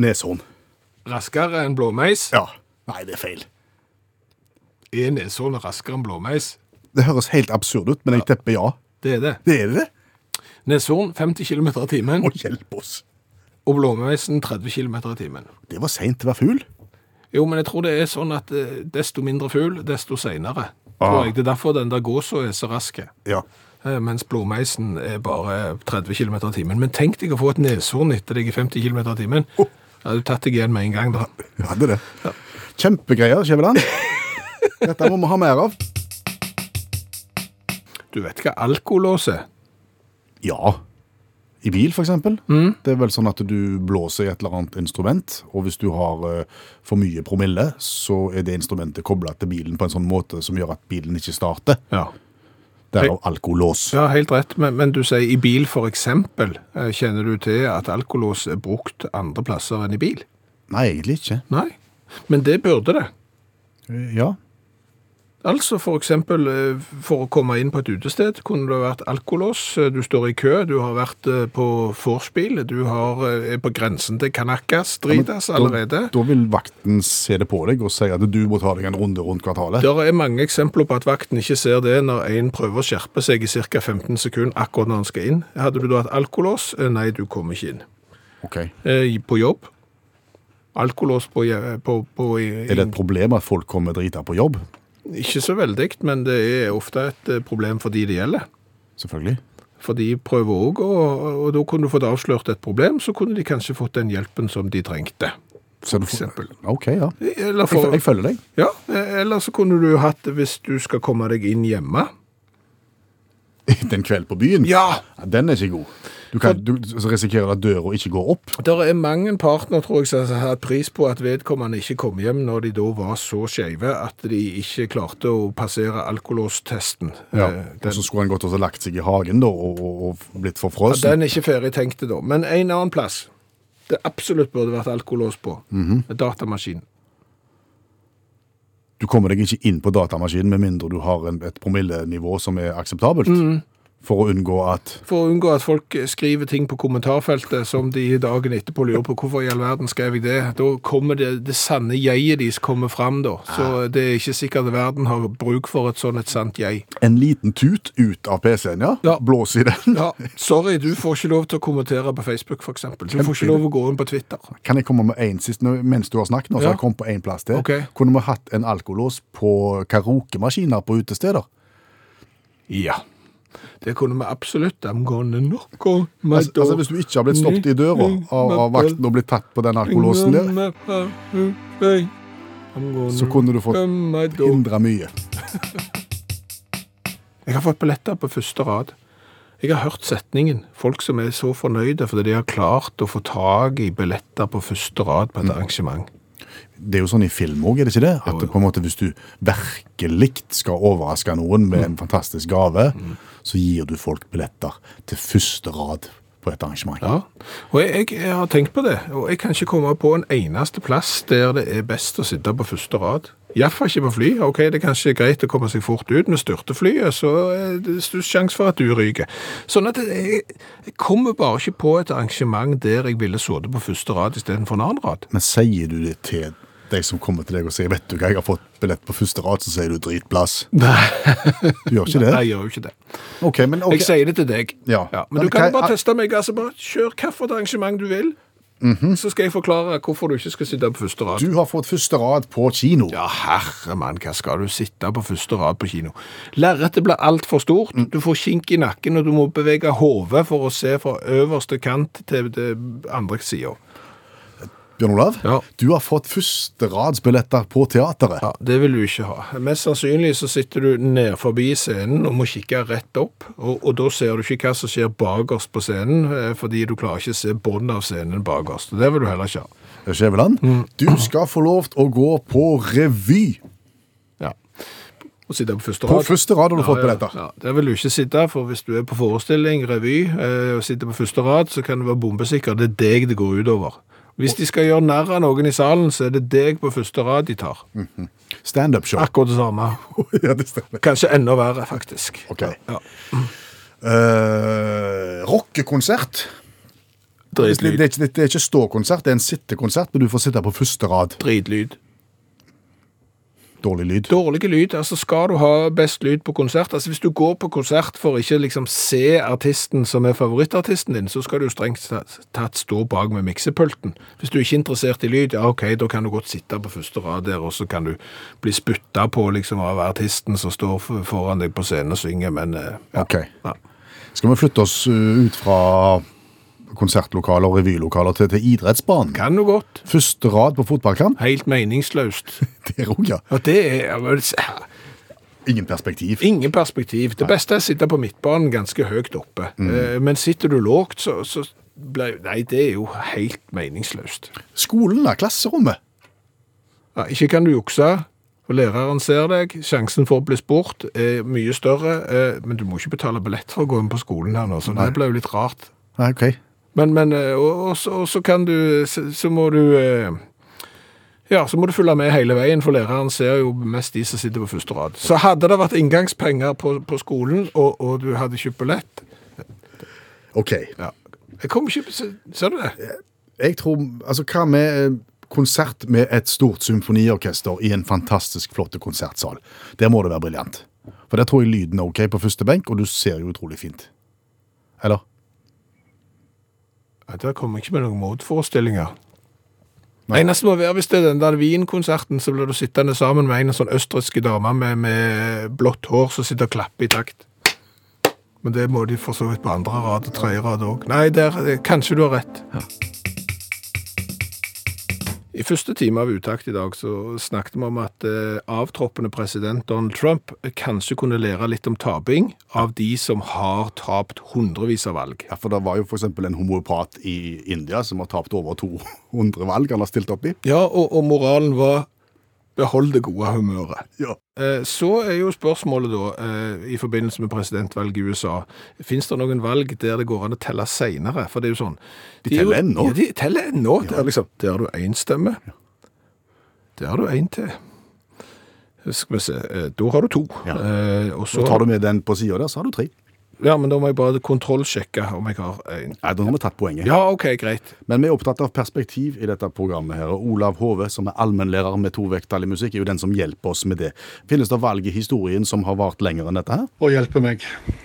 [SPEAKER 3] Neshorn.
[SPEAKER 2] Raskere enn blåmeis? E,
[SPEAKER 3] Ja. Nei, det er feil.
[SPEAKER 2] Er neshornet raskere enn blåmeis?
[SPEAKER 3] Det høres helt absurd ut, men jeg tipper ja.
[SPEAKER 2] Det er det.
[SPEAKER 3] Det er det.
[SPEAKER 2] Neshorn 50 km i timen
[SPEAKER 3] Å, hjelpe oss.
[SPEAKER 2] og blåmeisen 30 km i timen.
[SPEAKER 3] Det var seint til å være fugl.
[SPEAKER 2] Jo, men jeg tror det er sånn at eh, desto mindre fugl, desto seinere. Tror
[SPEAKER 3] Ah.
[SPEAKER 2] jeg. Det er derfor den der gåsa er så rask.
[SPEAKER 3] Ja.
[SPEAKER 2] Eh, Mens blåmeisen er bare 30 km i timen. Men tenk deg å få et neshorn etter deg i 50 km i timen. Ja, du tatt deg igjen med en gang, da.
[SPEAKER 3] Jeg hadde det. Kjempegreier, Skjæveland. Dette må vi ha mer av.
[SPEAKER 2] Du vet hva alkolås er?
[SPEAKER 3] Ja. I bil, for eksempel. Det er vel sånn at du blåser i et eller annet instrument, og hvis du har eh, for mye promille, så er det instrumentet koblet til bilen på en sånn måte som gjør at bilen ikke starter.
[SPEAKER 2] Ja.
[SPEAKER 3] Derav alkolås.
[SPEAKER 2] Ja, helt rett, men, men du sier i bil for eksempel, eh, kjenner du til at alkolås er brukt andre plasser enn i bil?
[SPEAKER 3] Nei, egentlig ikke.
[SPEAKER 2] Nei, men det burde det.
[SPEAKER 3] Eh, Ja.
[SPEAKER 2] Altså for eksempel, eh, for å komme inn på et utested, kunne det vært alkolås, eh, du står i kø, du har vært eh, på forspill, du har, eh, er på grensen til Kanakas, Dritas allerede.
[SPEAKER 3] Da, da vil vakten se det på deg og si at du må ta deg en runde rundt kvartalet.
[SPEAKER 2] Det er mange eksempler på at vakten ikke ser det når en prøver å skjerpe seg i ca. 15 sekunder akkurat når han skal inn. Hadde du da hatt alkolås? Eh, Nei, du kom ikke inn.
[SPEAKER 3] Ok.
[SPEAKER 2] Eh, i- på jobb. Alkolås på, je- på, på i,
[SPEAKER 3] Er det et problem at folk kommer drita på jobb?
[SPEAKER 2] Ikke så veldig, men det er ofte et eh, problem for de det gjelder.
[SPEAKER 3] Selvfølgelig.
[SPEAKER 2] For de prøver òg, og, og da kunne du fått avslørt et problem, så kunne de kanskje fått den hjelpen som de trengte.
[SPEAKER 3] Så du får-
[SPEAKER 2] eksempel.
[SPEAKER 3] Ok, ja.
[SPEAKER 2] Eller,
[SPEAKER 3] Jeg,
[SPEAKER 2] for,
[SPEAKER 3] føl- jeg følger deg.
[SPEAKER 2] ja, eh, eller så kunne du hatt det hvis du skal komme deg inn hjemme.
[SPEAKER 3] Den kveld på byen?
[SPEAKER 2] Ja!
[SPEAKER 3] Den er ikke god. Du, kan, du så risikerer du at døra ikke går opp.
[SPEAKER 2] Det er mange partner tror jeg, som har hatt pris på at vedkommende ikke kom hjem når de da var så skeive at de ikke klarte å passere alkolåstesten. Eh,
[SPEAKER 3] Og så skulle han gått og så lagt seg i hagen da, og, og, og blitt
[SPEAKER 2] Ja,
[SPEAKER 3] forfrossen.
[SPEAKER 2] den er ikke ferdig tenkt til da. Men en annen plass det absolutt burde vært alkolås på.
[SPEAKER 3] Mhm.
[SPEAKER 2] Datamaskin.
[SPEAKER 3] du kommer deg ikke inn på datamaskinen med mindre du har en, et promillenivå som er akseptabelt.
[SPEAKER 2] Mm.
[SPEAKER 3] For å unngå at
[SPEAKER 2] For å unngå at folk skriver ting på kommentarfeltet som de dagen etterpå lurer på hvorfor i all verden skrev jeg det. Da kommer det, det sanne jeget deres kommer fram, da. Så det er ikke sikkert at verden har bruk for et sånn et sant jeg.
[SPEAKER 3] en liten tut ut av PC-en, ja.
[SPEAKER 2] Ja.
[SPEAKER 3] Blås i den.
[SPEAKER 2] Ja, sorry, du får ikke lov til å kommentere på Facebook, f.eks. Du får ikke lov å gå inn på Twitter.
[SPEAKER 3] Kan jeg komme med en sist, nå- mens du har snakket nå, så
[SPEAKER 2] Ja.
[SPEAKER 3] har jeg kom på en plass til.
[SPEAKER 2] Ok.
[SPEAKER 3] Kunne vi hatt en alkolås på karaokemaskiner på utesteder?
[SPEAKER 2] Ja. Det kunne vi absolutt. I'm gonna knock on my
[SPEAKER 3] Altså, altså hvis du ikke har blitt stoppet i døra
[SPEAKER 2] Mm,
[SPEAKER 3] av, av vakten og blitt tatt på den alkolåsen der, så kunne du fått hindra mye.
[SPEAKER 2] Jeg har fått billetter på første rad. Jeg har hørt setningen. Folk som er så fornøyde fordi de har klart å få tak i billetter på første rad
[SPEAKER 3] Mm.
[SPEAKER 2] på et arrangement.
[SPEAKER 3] Det er jo sånn i film òg, er det ikke det? At det på en måte hvis du virkelig skal overraske noen med
[SPEAKER 2] Mm.
[SPEAKER 3] en fantastisk gave, så gir du folk billetter til første rad på et arrangement.
[SPEAKER 2] Ja, og jeg, jeg har tenkt på det, og jeg kan ikke komme på en eneste plass der det er best å sitte på første rad. Iallfall ikke på fly. Ok, det er kanskje greit å komme seg fort ut, men styrter flyet, så er det stor sjanse for at du ryker. Sånn at jeg, jeg kommer bare ikke på et arrangement der jeg ville sittet på første rad istedenfor en annen rad.
[SPEAKER 3] Men sier du det til de som kommer til deg og sier 'vet du hva, jeg har fått billett på første rad', så sier du 'dritplass'. Du gjør ikke
[SPEAKER 2] Nei,
[SPEAKER 3] det?
[SPEAKER 2] jeg gjør jo ikke det.
[SPEAKER 3] Ok, men ok.
[SPEAKER 2] Jeg sier det til deg.
[SPEAKER 3] Ja.
[SPEAKER 2] men,
[SPEAKER 3] Men
[SPEAKER 2] du kan
[SPEAKER 3] hva-
[SPEAKER 2] jo bare teste meg. altså bare Kjør hvilket arrangement du vil, så skal jeg forklare hvorfor du ikke skal sitte på første rad.
[SPEAKER 3] Du har fått første rad på kino.
[SPEAKER 2] Ja, herre mann, hva skal du sitte på første rad på kino? Lerretet blir altfor stort, du får kink i nakken, og du må bevege hodet for å se fra øverste kant til det andre sida.
[SPEAKER 3] Bjørn Olav,
[SPEAKER 2] Ja.
[SPEAKER 3] du har fått førsteradsbilletter på teateret.
[SPEAKER 2] Ja, det vil du ikke ha. Mest sannsynlig så sitter du ned forbi scenen og må kikke rett opp, og, og da ser du ikke hva som skjer bakerst på scenen, eh, fordi du klarer ikke å se båndet av scenen bakerst. Det vil du heller ikke ha.
[SPEAKER 3] eh, Skjæveland,
[SPEAKER 2] Mm.
[SPEAKER 3] du skal få lov til å gå på revy.
[SPEAKER 2] Ja. Å sitte på første
[SPEAKER 3] På
[SPEAKER 2] rad.
[SPEAKER 3] første rad har du fått
[SPEAKER 2] ja,
[SPEAKER 3] billetter.
[SPEAKER 2] Ja, der vil du ikke sitte, for hvis du er på forestilling, revy, eh, og sitter på første rad, så kan du være bombesikker. Det er deg det går utover. Hvis de skal gjøre narr av noen i salen, så er det deg på første rad de tar.
[SPEAKER 3] Standup-show.
[SPEAKER 2] Akkurat det samme.
[SPEAKER 3] ja, det stemmer.
[SPEAKER 2] Kanskje enda verre, faktisk.
[SPEAKER 3] Ok.
[SPEAKER 2] Ja.
[SPEAKER 3] Eh, rockekonsert. Det, er-
[SPEAKER 2] Dritlyd.
[SPEAKER 3] det, er ikke- det er ikke ståkonsert, det er en sittekonsert, men du får sitte på første rad.
[SPEAKER 2] Dritlyd.
[SPEAKER 3] Dårlig lyd.
[SPEAKER 2] Dårlige lyd. altså Skal du ha best lyd på konsert altså Hvis du går på konsert for ikke liksom se artisten som er favorittartisten din, så skal du strengt tatt stå bak med miksepulten. Hvis du ikke er interessert i lyd, ja OK, da kan du godt sitte på første rad der, og så kan du bli spytta på liksom av artisten som står f- foran deg på scenen og synger, men eh, ja.
[SPEAKER 3] Ok.
[SPEAKER 2] Ja.
[SPEAKER 3] Skal vi flytte oss uh, ut fra konsertlokaler og revylokaler til, til idrettsbanen?
[SPEAKER 2] Kan jo godt.
[SPEAKER 3] Første rad på fotballkamp?
[SPEAKER 2] Helt meningsløst.
[SPEAKER 3] Der òg, ja.
[SPEAKER 2] Og det er ja, men, s-
[SPEAKER 3] Ingen perspektiv.
[SPEAKER 2] Ingen perspektiv. Det beste er å sitte på midtbanen ganske høyt oppe. Eh, Men sitter du lågt, så, så ble, Nei, det er jo helt meningsløst.
[SPEAKER 3] Skolen, da. Klasserommet.
[SPEAKER 2] Ja, Ikke kan du jukse, og læreren ser deg. Sjansen for å bli spurt er mye større, eh, men du må ikke betale billett for å gå inn på skolen her nå, så det ble jo litt rart.
[SPEAKER 3] Nei, Ah, ok.
[SPEAKER 2] Men, men eh, og, og, så, og så kan du Så, så må du eh, ja, så må du følge med hele veien, for læreren ser jo mest de som sitter på første rad. Så hadde det vært inngangspenger på, på skolen, og, og du hadde kjøpt billett,
[SPEAKER 3] Ok.
[SPEAKER 2] Ja. Jeg kom ikke se- Ser du det?
[SPEAKER 3] Jeg tror Altså, hva med eh, konsert med et stort symfoniorkester i en fantastisk flott konsertsal? Der må det være briljant. For der tror jeg lyden er ok på første benk, og du ser jo utrolig fint. Eller?
[SPEAKER 2] Ja, der kom jeg ikke med noen motforestillinger. Nei. Eneste må være hvis det er den der Wien-konserten, så blir du sittende sammen med en sånn østerrikske dame med, med blått hår som sitter og klapper i takt. Men det må de for så vidt på andre rad og tredje rad òg. Nei, der, kanskje du har rett. I første time av Utakt i dag så snakket vi om at eh, avtroppende president Donald Trump kanskje kunne lære litt om taping av de som har tapt hundrevis av valg.
[SPEAKER 3] Ja, for det var jo f.eks. en homopat i India som har tapt over 200 valg han har stilt opp i.
[SPEAKER 2] Ja, og, og moralen var behold det gode humøret.
[SPEAKER 3] Ja.
[SPEAKER 2] Eh, Så er jo spørsmålet da, eh, i forbindelse med presidentvalget i USA, finnes det noen valg der det går an å telle senere? For det er jo sånn. De, er jo-
[SPEAKER 3] teller ennå.
[SPEAKER 2] Ja, de teller ennå. Det er liksom, der har du én stemme. Der har du én til. Skal vi se, eh, da har du to.
[SPEAKER 3] Ja.
[SPEAKER 2] Eh, Og så
[SPEAKER 3] Så tar du med den på sida der, så har du tre.
[SPEAKER 2] Ja, men da må jeg bare kontrollsjekke om jeg har en.
[SPEAKER 3] Nei, da har vi tatt poenget.
[SPEAKER 2] Ja, ok, greit.
[SPEAKER 3] Men vi er opptatt av perspektiv i dette programmet. her, og Olav Hove, som er allmennlærer med tovekttall i musikk, er jo den som hjelper oss med det. Finnes det valg i historien som har vart lenger enn dette her?
[SPEAKER 5] Og hjelpe meg.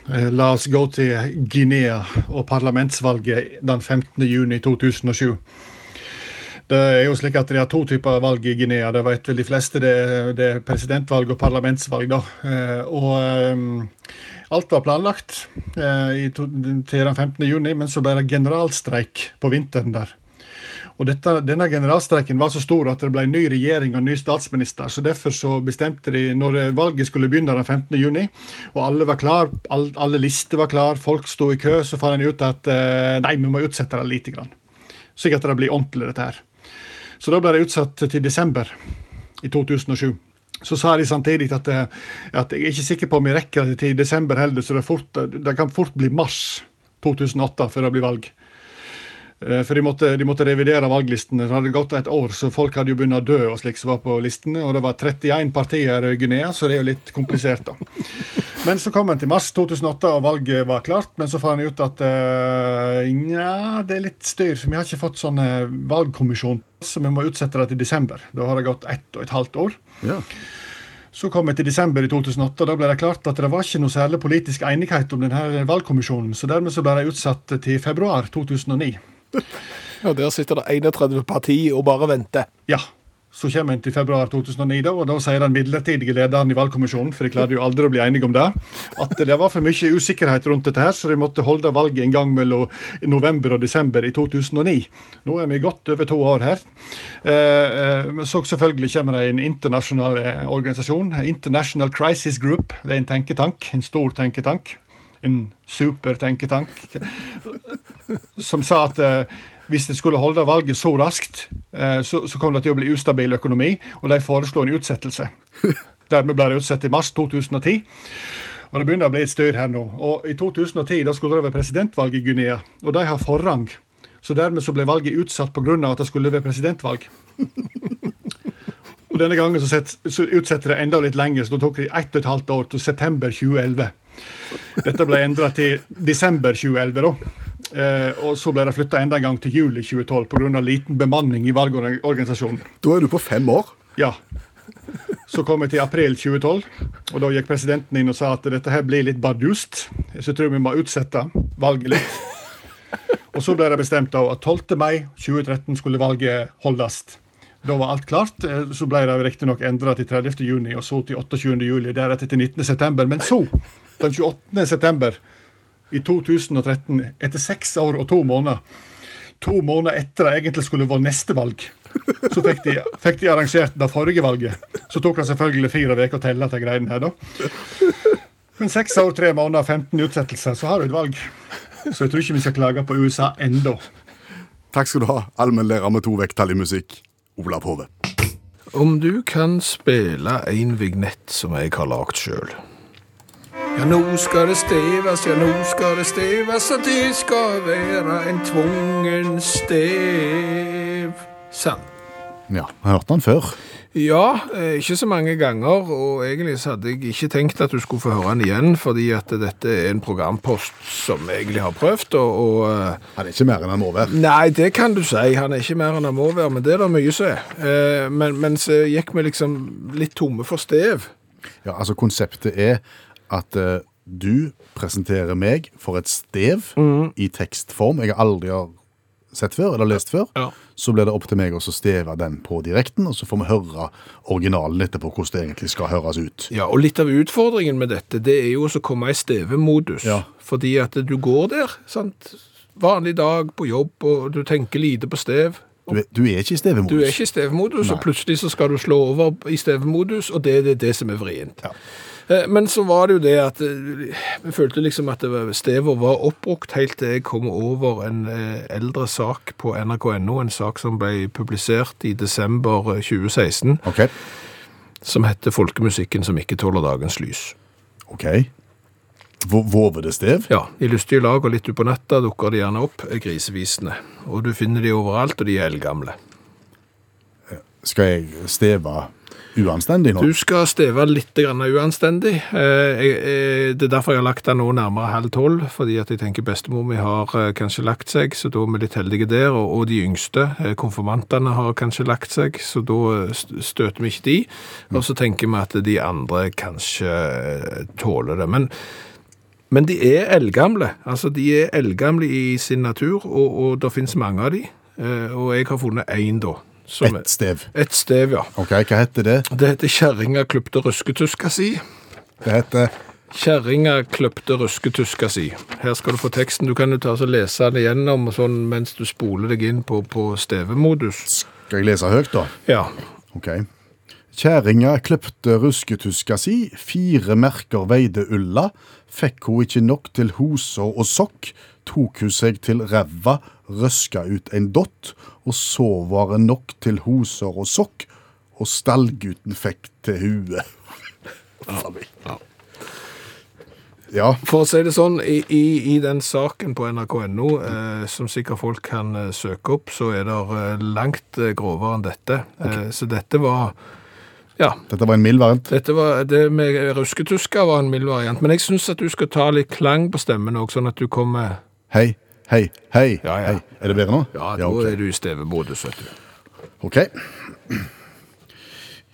[SPEAKER 5] Eh, La oss gå til Guinea og parlamentsvalget den 15. juni 2007. Det er jo slik at De har to typer valg i Guinea. Det vet vel de fleste. Det, er- det er presidentvalg og parlamentsvalg. da. Eh, Og ehm, alt var planlagt eh, i to, til den 15. juni, men så ble det generalstreik på vinteren der. Og dette, denne generalstreiken var så stor at det ble ny regjering og ny statsminister. så Derfor så bestemte de når valget skulle begynne den 15. juni, og alle var klar, all, alle lister var klar, folk sto i kø, så fant en ut at eh, nei, vi må utsette det lite grann. Slik at det blir ordentlig, dette her. Så da ble det utsatt til desember i 2007. Så sa de samtidig at, eh, at jeg er ikke sikker på om jeg rekker det til desember heller, så det, er fort, det kan fort bli mars 2008 før det blir valg. Eh, For de måtte, de måtte revidere valglistene. Det hadde gått et år, så folk hadde jo begynt å dø. og slik som var på listene, og Det var 31 partier i Guinea, så det er jo litt komplisert. da. Men så kom en til mars 2008, og valget var klart. Men så fant en ut at eh, nja, det er litt styr. for Vi har ikke fått sånn eh, valgkommisjon, så vi må utsette det til desember. Da har det gått ett og et halvt år.
[SPEAKER 3] Ja.
[SPEAKER 5] Så kom vi til desember i 2008, og da ble det klart at det var ikke noe særlig politisk enighet om denne valgkommisjonen, så dermed så ble det utsatt til februar 2009.
[SPEAKER 2] Ja, der sitter det 31 parti og bare venter.
[SPEAKER 5] Ja. Så kommer en til februar 2009, da, og da sier den midlertidige lederen i valgkommisjonen for de klarte jo aldri å bli enige om det, at det var for mye usikkerhet rundt dette, her, så de måtte holde valget en gang mellom november og desember i 2009. Nå er vi godt over to år her. Eh, eh, men Så selvfølgelig kommer det en internasjonal eh, organisasjon, International Crisis Group. Det er en tenketank, en stor tenketank. En super tenketank som sa at eh, hvis de skulle holde valget så raskt, eh, så, så kom det til å bli ustabil økonomi, og de foreslo en utsettelse. Dermed ble det utsatt i mars 2010. Og Det begynner å bli et styr her nå. Og I 2010 da skulle det være presidentvalg i Guinea, og de har forrang. Så dermed så ble valget utsatt pga. at det skulle være presidentvalg. Og Denne gangen så, sett, så utsetter det enda litt lenger, så da tok det ett og et halvt år til september 2011. Dette ble endra til desember 2011, da. Eh, og så ble det flytta enda en gang til juli 2012 pga. liten bemanning i valgorganisasjonen.
[SPEAKER 3] Da er du på fem år.
[SPEAKER 5] Ja. Så kom vi til april 2012, og da gikk presidenten inn og sa at dette her blir litt bardust, så jeg tror vi må utsette valget litt. Og så ble det bestemt da at 12. mai 2013 skulle valget holdes. Da var alt klart. eh, Så ble det riktignok endra til 30. juni, og så til 28. juli, deretter til 19. september. Men så, den 28. september i 2013, etter seks år og to måneder, to måneder etter det egentlig skulle vært neste valg, så fikk de, fikk de arrangert det forrige valget. Så tok det selvfølgelig fire uker å telle til greiene her, da. Men seks år, tre måneder, 15 utsettelser, så har du et valg. Så jeg tror ikke vi skal klage på USA ennå.
[SPEAKER 3] Takk skal du ha, allmennlærer med to vekttall i musikk, Olav Hove.
[SPEAKER 2] Om du kan spille en vignett som jeg har lagd sjøl. Ja, nå skal det steves, ja, nå skal det steves, og det skal være en tvungen stev. Sant.
[SPEAKER 3] Ja, jeg hørte den før.
[SPEAKER 2] Ja, eh, ikke så mange ganger, og egentlig så hadde jeg ikke tenkt at du skulle få høre den igjen, fordi at dette er en programpost som jeg egentlig har prøvd, og, og eh,
[SPEAKER 3] Han er ikke mer enn han må være.
[SPEAKER 2] Nei, det kan du si. Han er ikke mer enn han må være, men det er det mye som er. Eh, Men, men så gikk vi liksom litt tomme for stev.
[SPEAKER 3] Ja, altså Konseptet er at eh, du presenterer meg for et stev
[SPEAKER 2] Mm.
[SPEAKER 3] i tekstform jeg aldri har sett før eller lest før.
[SPEAKER 2] Ja.
[SPEAKER 3] Så blir det opp til meg å så steve den på direkten, og så får vi høre originalen etterpå hvordan det egentlig skal høres ut.
[SPEAKER 2] Ja, og litt av utfordringen med dette, det er jo også å komme i stevemodus.
[SPEAKER 3] Ja.
[SPEAKER 2] Fordi at du går der, sant? Vanlig dag på jobb, og du tenker lite på stev.
[SPEAKER 3] Du er, du er ikke i stevemodus.
[SPEAKER 2] Du er ikke i stevemodus, og
[SPEAKER 3] Nei.
[SPEAKER 2] plutselig så skal du slå over i stevemodus, og det er det, det som er vrient.
[SPEAKER 3] Ja.
[SPEAKER 2] Eh, Men så var det jo det at eh, vi følte liksom at det var- stevet var oppbrukt helt til jeg kom over en eh, eldre sak på NRK.no, en sak som ble publisert i desember eh, 2016,
[SPEAKER 3] Ok,
[SPEAKER 2] som heter 'Folkemusikken som ikke tåler dagens lys'.
[SPEAKER 3] ok. Vå- Våvede stev?
[SPEAKER 2] Ja, I lystige lag og litt utpå natta dukker de gjerne opp, eh, grisevisene. Og du finner de overalt, og de er eldgamle.
[SPEAKER 3] Skal jeg steve uanstendig nå?
[SPEAKER 2] Du skal steve litt grann uanstendig. Eh, jeg- jeg- Det er derfor jeg har lagt den nå nærmere halv tolv, fordi at jeg tenker bestemor mi har eh, kanskje lagt seg, så da er vi litt heldige der, og og de yngste, eh, konfirmantene, har kanskje lagt seg, så da eh, st- støter vi ikke de. Og så tenker vi at de andre kanskje eh, tåler det. Men men de er eldgamle. Altså, de er eldgamle i sin natur, og, og det finnes mange av de. Eh, Og jeg har funnet én, da. som-
[SPEAKER 3] Et stev.
[SPEAKER 2] Et stev, ja.
[SPEAKER 3] Ok, hva heter det?
[SPEAKER 2] Det heter kjerringa kløpte rusketuska si.
[SPEAKER 3] Det heter
[SPEAKER 2] Kjerringa kløpte rusketuska si. Her skal du få teksten. Du kan jo ta og lese den igjennom og sånn, mens du spoler deg inn på, på stevemodus.
[SPEAKER 3] Skal jeg lese høyt, da?
[SPEAKER 2] Ja.
[SPEAKER 3] Ok. Kjæringa kløpte rusketuska si, fire merker veide ulla, fikk hun ikke nok til hoser og sokk, tok hun seg til ræva, røska ut en dott, og så var det nok til hoser og sokk, og stallgutten fikk til huet. Ja,
[SPEAKER 2] For å si det sånn, i, i, i den saken på nrk.no, eh, som sikkert folk kan eh, søke opp, så er det eh, langt eh, grovere enn dette. Eh, så dette var Ja.
[SPEAKER 3] dette var en mild variant.
[SPEAKER 2] Dette var, det med rusketuska var en mild variant. Men jeg syns at du skal ta litt klang på stemmen òg, sånn at du kommer
[SPEAKER 3] Hei, hei, hei,
[SPEAKER 2] Ja, ja.
[SPEAKER 3] hei. Er det bedre nå?
[SPEAKER 2] Ja, da
[SPEAKER 3] ok.
[SPEAKER 2] er du i stevemodus, vet du.
[SPEAKER 3] Ok.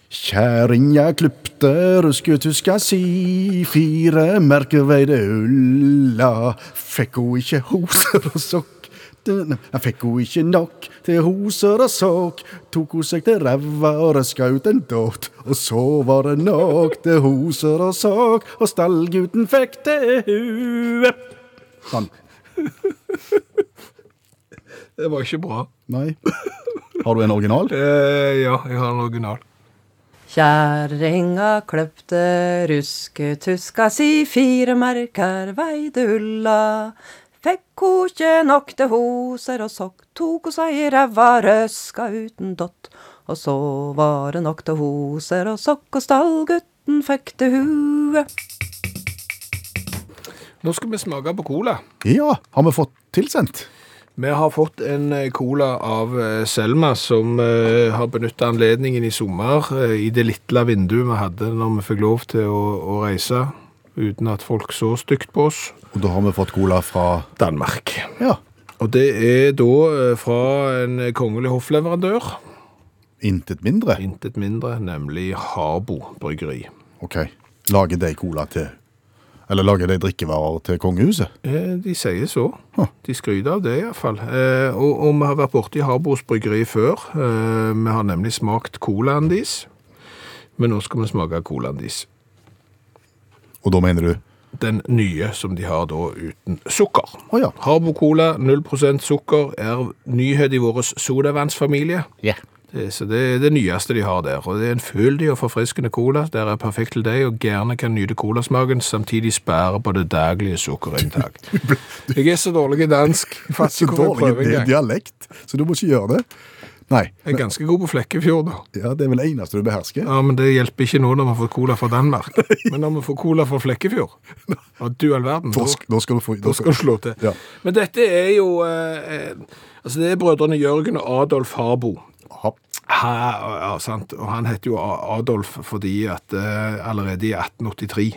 [SPEAKER 3] Kjæringa klipte rusketuska si, fire merker veide ulla. Fikk hun ikke hoser og sokk? Den- Nei, Fikk hun ikke nok til hoser og sokk? Tok hun seg til ræva og røska ut en dott. Og så var det nok til hoser og sokk, og stallgutten fikk til huet. Sånn.
[SPEAKER 2] Det var ikke bra.
[SPEAKER 3] Nei. Har du en original?
[SPEAKER 2] Eh, ja, jeg har en original.
[SPEAKER 6] Kjerringa kløpte rusketuska si, fire merker veide ulla. Fikk ho ikkje nok til hoser og sokk, tok ho seg i ræva, røska uten dott. Og så var det nok til hoser og sokk, og stallgutten fikk til huet.
[SPEAKER 2] Nå skal vi smake på cola.
[SPEAKER 3] Ja, har vi fått tilsendt?
[SPEAKER 2] Vi har fått en eh, cola av eh, Selma, som eh, har benytta anledningen i sommer, eh, i det lille vinduet vi hadde når vi fikk lov til å, å reise uten at folk så stygt på oss.
[SPEAKER 3] Og da har vi fått cola fra
[SPEAKER 2] Danmark.
[SPEAKER 3] ja,
[SPEAKER 2] Og det er da eh, fra en kongelig hoffleverandør,
[SPEAKER 3] intet mindre.
[SPEAKER 2] intet mindre, nemlig Harbo bryggeri.
[SPEAKER 3] Ok, Lager de cola til Eller lager de drikkevarer til kongehuset?
[SPEAKER 2] Eh, De sier så.
[SPEAKER 3] Huh.
[SPEAKER 2] De skryter av det iallfall. Eh, og, og vi har vært borti Harbos bryggeri før. Eh, vi har nemlig smakt colaen deres. Men nå skal vi smake colaen deres.
[SPEAKER 3] Og da mener du
[SPEAKER 2] Den nye som de har da uten sukker.
[SPEAKER 3] Å ja.
[SPEAKER 2] Harbo Cola, 0 sukker, er nyhet i vår sodavannsfamilie. Det, så det er det nyeste de har der. Og det er en fyldig og forfriskende cola. Der er perfekt til deg, og gjerne kan nyte colasmaken, samtidig spære på det daglige sukkerinntak. Jeg er så dårlig i dansk. Jeg fatter
[SPEAKER 3] Så
[SPEAKER 2] ikke hvor jeg
[SPEAKER 3] dårlig
[SPEAKER 2] prøver
[SPEAKER 3] det er
[SPEAKER 2] engang.
[SPEAKER 3] dialekt, så du må ikke gjøre det. Nei.
[SPEAKER 2] Jeg er ganske god på Flekkefjord, da.
[SPEAKER 3] Ja, Det er vel det eneste du behersker.
[SPEAKER 2] Ja, men Det hjelper ikke nå når vi får cola fra Danmark. Men når vi får cola fra Flekkefjord, og du all verden,
[SPEAKER 3] Da
[SPEAKER 2] da-
[SPEAKER 3] sk- da skal du få
[SPEAKER 2] Da skal du slå til.
[SPEAKER 3] Ja.
[SPEAKER 2] Men dette er jo eh, eh, Altså, det er brødrene Jørgen og Adolf Harbo.
[SPEAKER 3] Ha,
[SPEAKER 2] Ha, ja, sant? Og han heter jo A- Adolf fordi at eh, allerede i 1883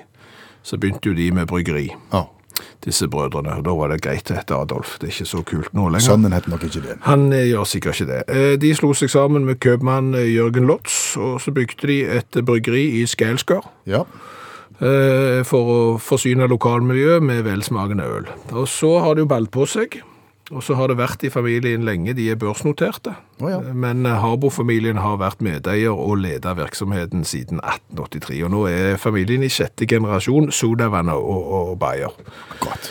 [SPEAKER 2] så begynte jo de med bryggeri,
[SPEAKER 3] ja.
[SPEAKER 2] disse brødrene. Og da var det greit å hete Adolf. Det er ikke så kult nå lenger.
[SPEAKER 3] Sønnen heter nok ikke det.
[SPEAKER 2] Han eh, gjør sikkert ikke det. Eh, De slo seg sammen med køpmann eh, Jørgen Lotz, og så bygde de et eh, bryggeri i Skelskør
[SPEAKER 3] Ja.
[SPEAKER 2] eh, for å forsyne lokalmiljøet med velsmakende øl. Og så har det jo ballet på seg, og så har det vært i familien lenge, de er børsnoterte.
[SPEAKER 3] Å ja.
[SPEAKER 2] Eh, Men eh, Harbo-familien har vært medeier og ledet virksomheten siden 1883, og nå er familien i sjette generasjon sodavann og, og bayer.
[SPEAKER 3] Godt.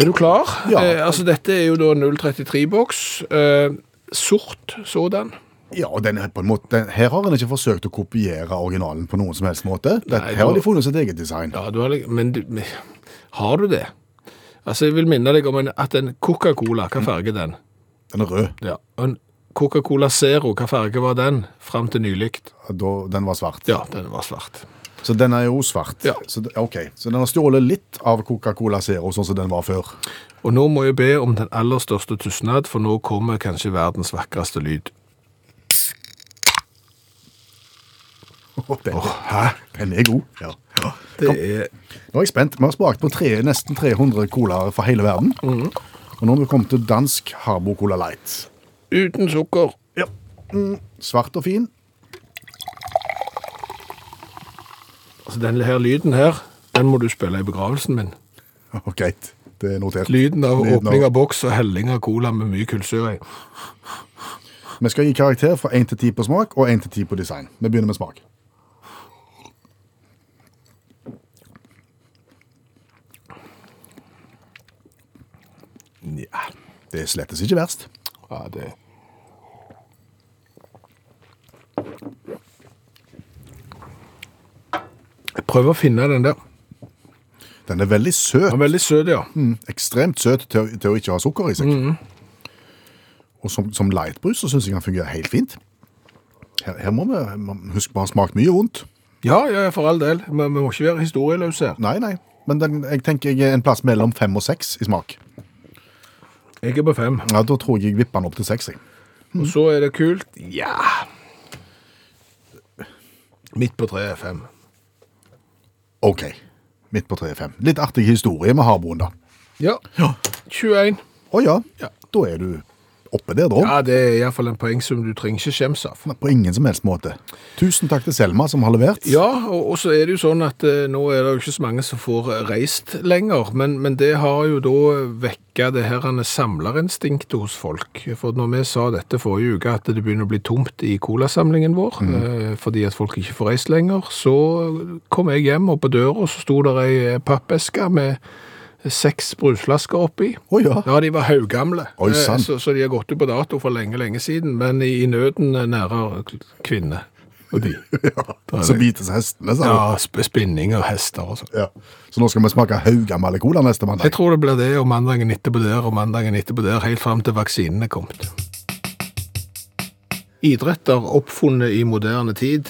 [SPEAKER 2] Er du klar?
[SPEAKER 3] Ja.
[SPEAKER 2] Eh, altså, dette er jo da 033-boks, eh, sort sådan.
[SPEAKER 3] Ja, og den er på en måte, den, Her har en ikke forsøkt å kopiere originalen på noen som helst måte. Det,
[SPEAKER 2] Nei,
[SPEAKER 3] her har
[SPEAKER 2] da-
[SPEAKER 3] de funnet sitt eget design.
[SPEAKER 2] Ja, du har, lik- men du, men- har du det? Altså, jeg vil minne deg om en, at en Coca-Cola, hva farge er den?
[SPEAKER 3] Den er rød.
[SPEAKER 2] Ja. Og en Coca-Cola Zero, hva farge var den? Fram til nylikt.
[SPEAKER 3] Da, den var svart.
[SPEAKER 2] Ja, den var svart.
[SPEAKER 3] Så den er jo svart.
[SPEAKER 2] Ja.
[SPEAKER 3] Så, det- ok, så den har stjålet litt av Coca-Cola Zero, sånn som den var før.
[SPEAKER 2] Og nå må jeg be om den aller største tusenad, for nå kommer kanskje verdens vakreste lyd.
[SPEAKER 3] Den, hæ? den er god. Ja.
[SPEAKER 2] Det er
[SPEAKER 3] Nå er jeg spent. Vi har smakt på tre, nesten 300 colaer fra hele verden.
[SPEAKER 2] Mhm.
[SPEAKER 3] Og nå har vi kommet til dansk Harbo Cola Light.
[SPEAKER 2] uten sukker.
[SPEAKER 3] Svart og fin.
[SPEAKER 2] Altså, denne her lyden her, den må du spille i begravelsen min.
[SPEAKER 3] Ok, Greit. Det er notert.
[SPEAKER 2] Lyden av
[SPEAKER 3] Lyden av-
[SPEAKER 2] åpning av boks og helling av cola med mye kullsyre i.
[SPEAKER 3] Vi skal gi karakter fra 1 til 10 på smak og 1 til 10 på design. Vi begynner med smak.
[SPEAKER 2] Ja.
[SPEAKER 3] Det er slettes ikke verst.
[SPEAKER 2] Ja, det Jeg prøver å finne den der.
[SPEAKER 3] Den er veldig søt.
[SPEAKER 2] Den er veldig søt, ja.
[SPEAKER 3] Ekstremt søt til, å- til å ikke ha sukker i seg.
[SPEAKER 2] Mm.
[SPEAKER 3] Og som, som lightbrus så syns jeg den fungerer helt fint. Her, her må vi man- husk på å ha smakt mye vondt.
[SPEAKER 2] Ja, ja, for all del. Men vi må ikke være historieløse her.
[SPEAKER 3] Nei, nei. Men den, jeg tenker jeg er en plass mellom fem og seks i smak.
[SPEAKER 2] Jeg er på fem.
[SPEAKER 3] Ja, Da tror jeg jeg vipper den opp til seks. jeg.
[SPEAKER 2] Og så er det kult. Ja Midt på treet er fem.
[SPEAKER 3] OK. Midt på tre er fem. Litt artig historie med Harboen, da.
[SPEAKER 2] Ja. 21.
[SPEAKER 3] Å ja.
[SPEAKER 2] Ja.
[SPEAKER 3] Da er du oppe der, da.
[SPEAKER 2] Ja, det er iallfall en poengsum du trenger ikke skjemmes av.
[SPEAKER 3] På ingen som helst måte. Tusen takk til Selma, som har levert.
[SPEAKER 2] Ja, og, og så er det jo sånn at eh, nå er det jo ikke så mange som får eh, reist lenger, men, men det har jo da vekket det her ene samlerinstinktet hos folk. For når vi sa dette forrige uke, at det begynner å bli tomt i colasamlingen vår,
[SPEAKER 3] Mm.
[SPEAKER 2] eh, fordi at folk ikke får reist lenger, så kom jeg hjem, og på døra så sto der ei eh, pappeske med seks brusflasker oppi.
[SPEAKER 3] Å ja.
[SPEAKER 2] Ja, de var haugamle,
[SPEAKER 3] Oi,
[SPEAKER 2] Eh,
[SPEAKER 3] sant.
[SPEAKER 2] så, så de har gått ut på dato for lenge, lenge siden, men i, i nøden eh, nærer kvinne og de.
[SPEAKER 3] Så bites hestene, sa du.
[SPEAKER 2] Ja, sp spinning og hester og sånn.
[SPEAKER 3] Ja. Så nå skal vi smake haugammel cola neste mandag.
[SPEAKER 2] Jeg tror det blir det, og mandagen etterpå der, og mandagen etterpå der, helt fram til vaksinen er kommet. Idretter oppfunnet i moderne tid,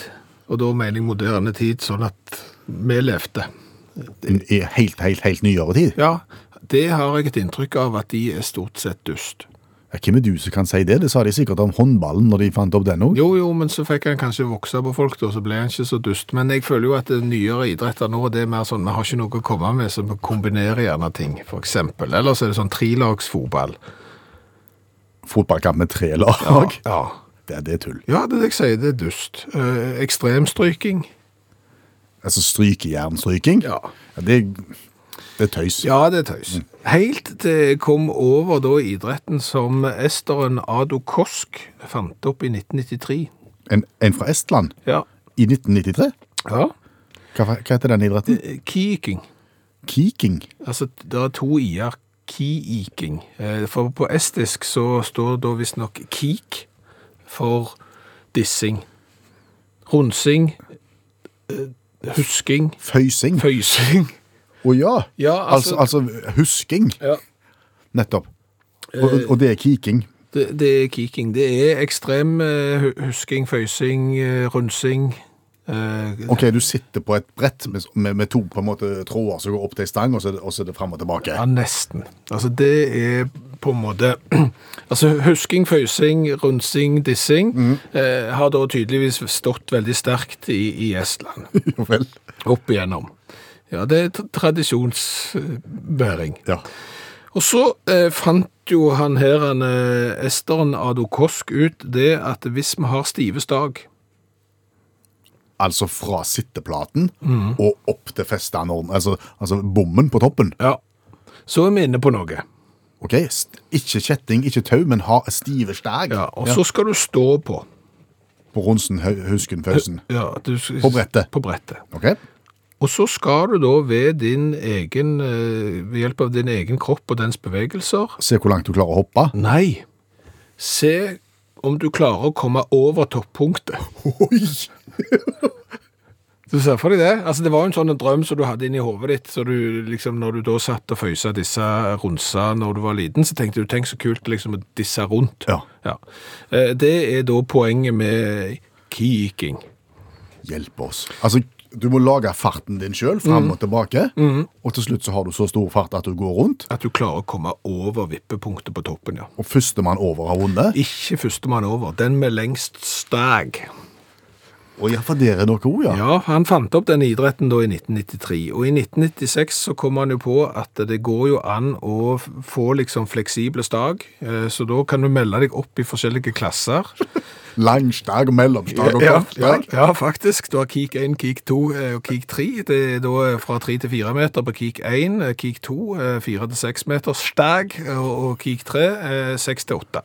[SPEAKER 2] og da mener jeg moderne tid sånn at vi levde.
[SPEAKER 3] I helt, helt, helt nyere tid.
[SPEAKER 2] Ja, det har jeg et inntrykk av at de er stort sett dust.
[SPEAKER 3] Ja, hvem er du som kan si det? Det sa de sikkert om håndballen når de fant opp den òg.
[SPEAKER 2] Jo, jo, men så fikk han kanskje vokse på folk, da, så ble han ikke så dust. Men jeg føler jo at det nyere idretter nå, det er mer sånn vi har ikke noe å komme med, så vi kombinerer gjerne ting, f.eks. Ellers er det sånn trelagsfotball.
[SPEAKER 3] Fotballkamp med tre lag.
[SPEAKER 2] Ja.
[SPEAKER 3] Det, det er tull.
[SPEAKER 2] ja, det er det jeg sier, det er dust. Eh, ekstremstryking.
[SPEAKER 3] Altså strykejernstryking.
[SPEAKER 2] Ja.
[SPEAKER 3] Ja, det, det er tøys.
[SPEAKER 2] Ja, det er tøys. Helt til jeg kom over da idretten som esteren Ado Kosk fant opp i 1993.
[SPEAKER 3] En, en fra Estland
[SPEAKER 2] Ja.
[SPEAKER 3] i 1993. Hva, fa- hva heter den idretten?
[SPEAKER 2] Eh, Kiking.
[SPEAKER 3] Kiking.
[SPEAKER 2] Altså, det er to i-er. Kiiking. Eh, For på estisk så står da visstnok kik for dissing. Ronsing. eh, Husking.
[SPEAKER 3] Føysing.
[SPEAKER 2] Føysing.
[SPEAKER 3] Å ja.
[SPEAKER 2] Ja,
[SPEAKER 3] Altså,
[SPEAKER 2] altså,
[SPEAKER 3] altså husking.
[SPEAKER 2] Ja.
[SPEAKER 3] Nettopp. Og, og det er kiking.
[SPEAKER 2] Det, det er kiking. Det er ekstrem eh, hu- husking, føysing, eh, runsing. eh,
[SPEAKER 3] Ok, du sitter på et brett med, med, med to på en måte tråder som går opp til ei stang, og så, er det- og så er det fram og tilbake.
[SPEAKER 2] Ja, nesten. Altså, det er på en måte Altså, husking, føysing, runsing, dissing eh, har da tydeligvis stått veldig sterkt i, i Estland
[SPEAKER 3] Jo vel.
[SPEAKER 2] opp igjennom. Ja, det er tra- tradisjonsbæring.
[SPEAKER 3] Ja.
[SPEAKER 2] Og så eh, fant jo han her, han eh, esteren Ado Kosk, ut det at hvis vi har stive stag
[SPEAKER 3] Altså fra sitteplaten
[SPEAKER 2] Mm.
[SPEAKER 3] og opp til festeanordnen, altså, altså bommen på toppen.
[SPEAKER 2] Ja, så er vi inne på noe.
[SPEAKER 3] Ok, st- Ikke kjetting, ikke tau, men ha stive steg
[SPEAKER 2] Ja, og så skal du stå på.
[SPEAKER 3] på Ronsen, Hø- Husken, Fausen.
[SPEAKER 2] Ja, du, s-
[SPEAKER 3] På brettet.
[SPEAKER 2] På brettet.
[SPEAKER 3] Ok?
[SPEAKER 2] Og så skal du da ved, din egen, eh, ved hjelp av din egen kropp og dens bevegelser
[SPEAKER 3] Se hvor langt du klarer å hoppe.
[SPEAKER 2] Nei. Se om du klarer å komme over toppunktet.
[SPEAKER 3] Oi!
[SPEAKER 2] Du ser for deg det? Altså, det var jo en sånn en drøm som du hadde inni hodet ditt. så du liksom, Når du da satt og føysa disse rundsa når du var liten, så tenkte du tenk så kult liksom å disse rundt.
[SPEAKER 3] Ja.
[SPEAKER 2] Eh, Det er da poenget med kiking.
[SPEAKER 3] Hjelp oss. Altså, du må lage farten din sjøl, fram
[SPEAKER 2] Mm.
[SPEAKER 3] og tilbake. Og til slutt så har du så stor fart at du går rundt,
[SPEAKER 2] At du klarer å komme over vippepunktet på toppen, ja.
[SPEAKER 3] og førstemann over har vunnet.
[SPEAKER 2] Ikke førstemann over. Den med lengst steg.
[SPEAKER 3] Og ja, for dere er noe òg, ja.
[SPEAKER 2] Ja, han fant opp den idretten da i 1993, og i 1996 så kom han jo på at det går jo an å f- få liksom fleksible stag, eh, så da kan du melde deg opp i forskjellige klasser.
[SPEAKER 3] Langsteg og mellomsteg og
[SPEAKER 2] ja,
[SPEAKER 3] kortsteg.
[SPEAKER 2] ja, faktisk. Du har Kik 1, Kik 2 eh, og Kik 3. Det er da eh, fra 3 til 4 meter på Kik 1, eh, Kik 2, eh, 4 til 6 meter stag, og og Kik 3, eh, 6 til 8.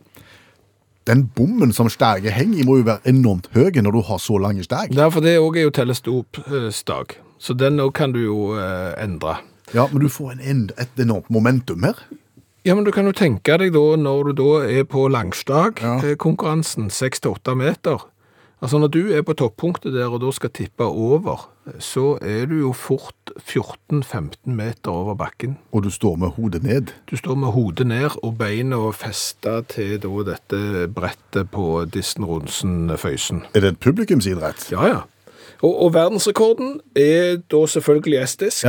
[SPEAKER 3] Den bommen som steget henger i, må jo være enormt høy når du har så lange steg.
[SPEAKER 2] Ja, for det også er jo telestopstag, så den også kan du jo eh, endre.
[SPEAKER 3] Ja, men du får en, en, et enormt momentum her.
[SPEAKER 2] Ja, men du kan jo tenke deg da, når du da er på eh, langstag-konkurransen, 6-8 meter. Altså når du er på toppunktet der og da skal tippe over, så er du jo fort 14-15 meter over bakken.
[SPEAKER 3] Og du står med hodet ned.
[SPEAKER 2] Du står med hodet ned og beina festa til da dette brettet på Dissen Ronsen-føysen.
[SPEAKER 3] Er det en publikumsidrett?
[SPEAKER 2] Ja, ja. Og, og verdensrekorden er da selvfølgelig estisk.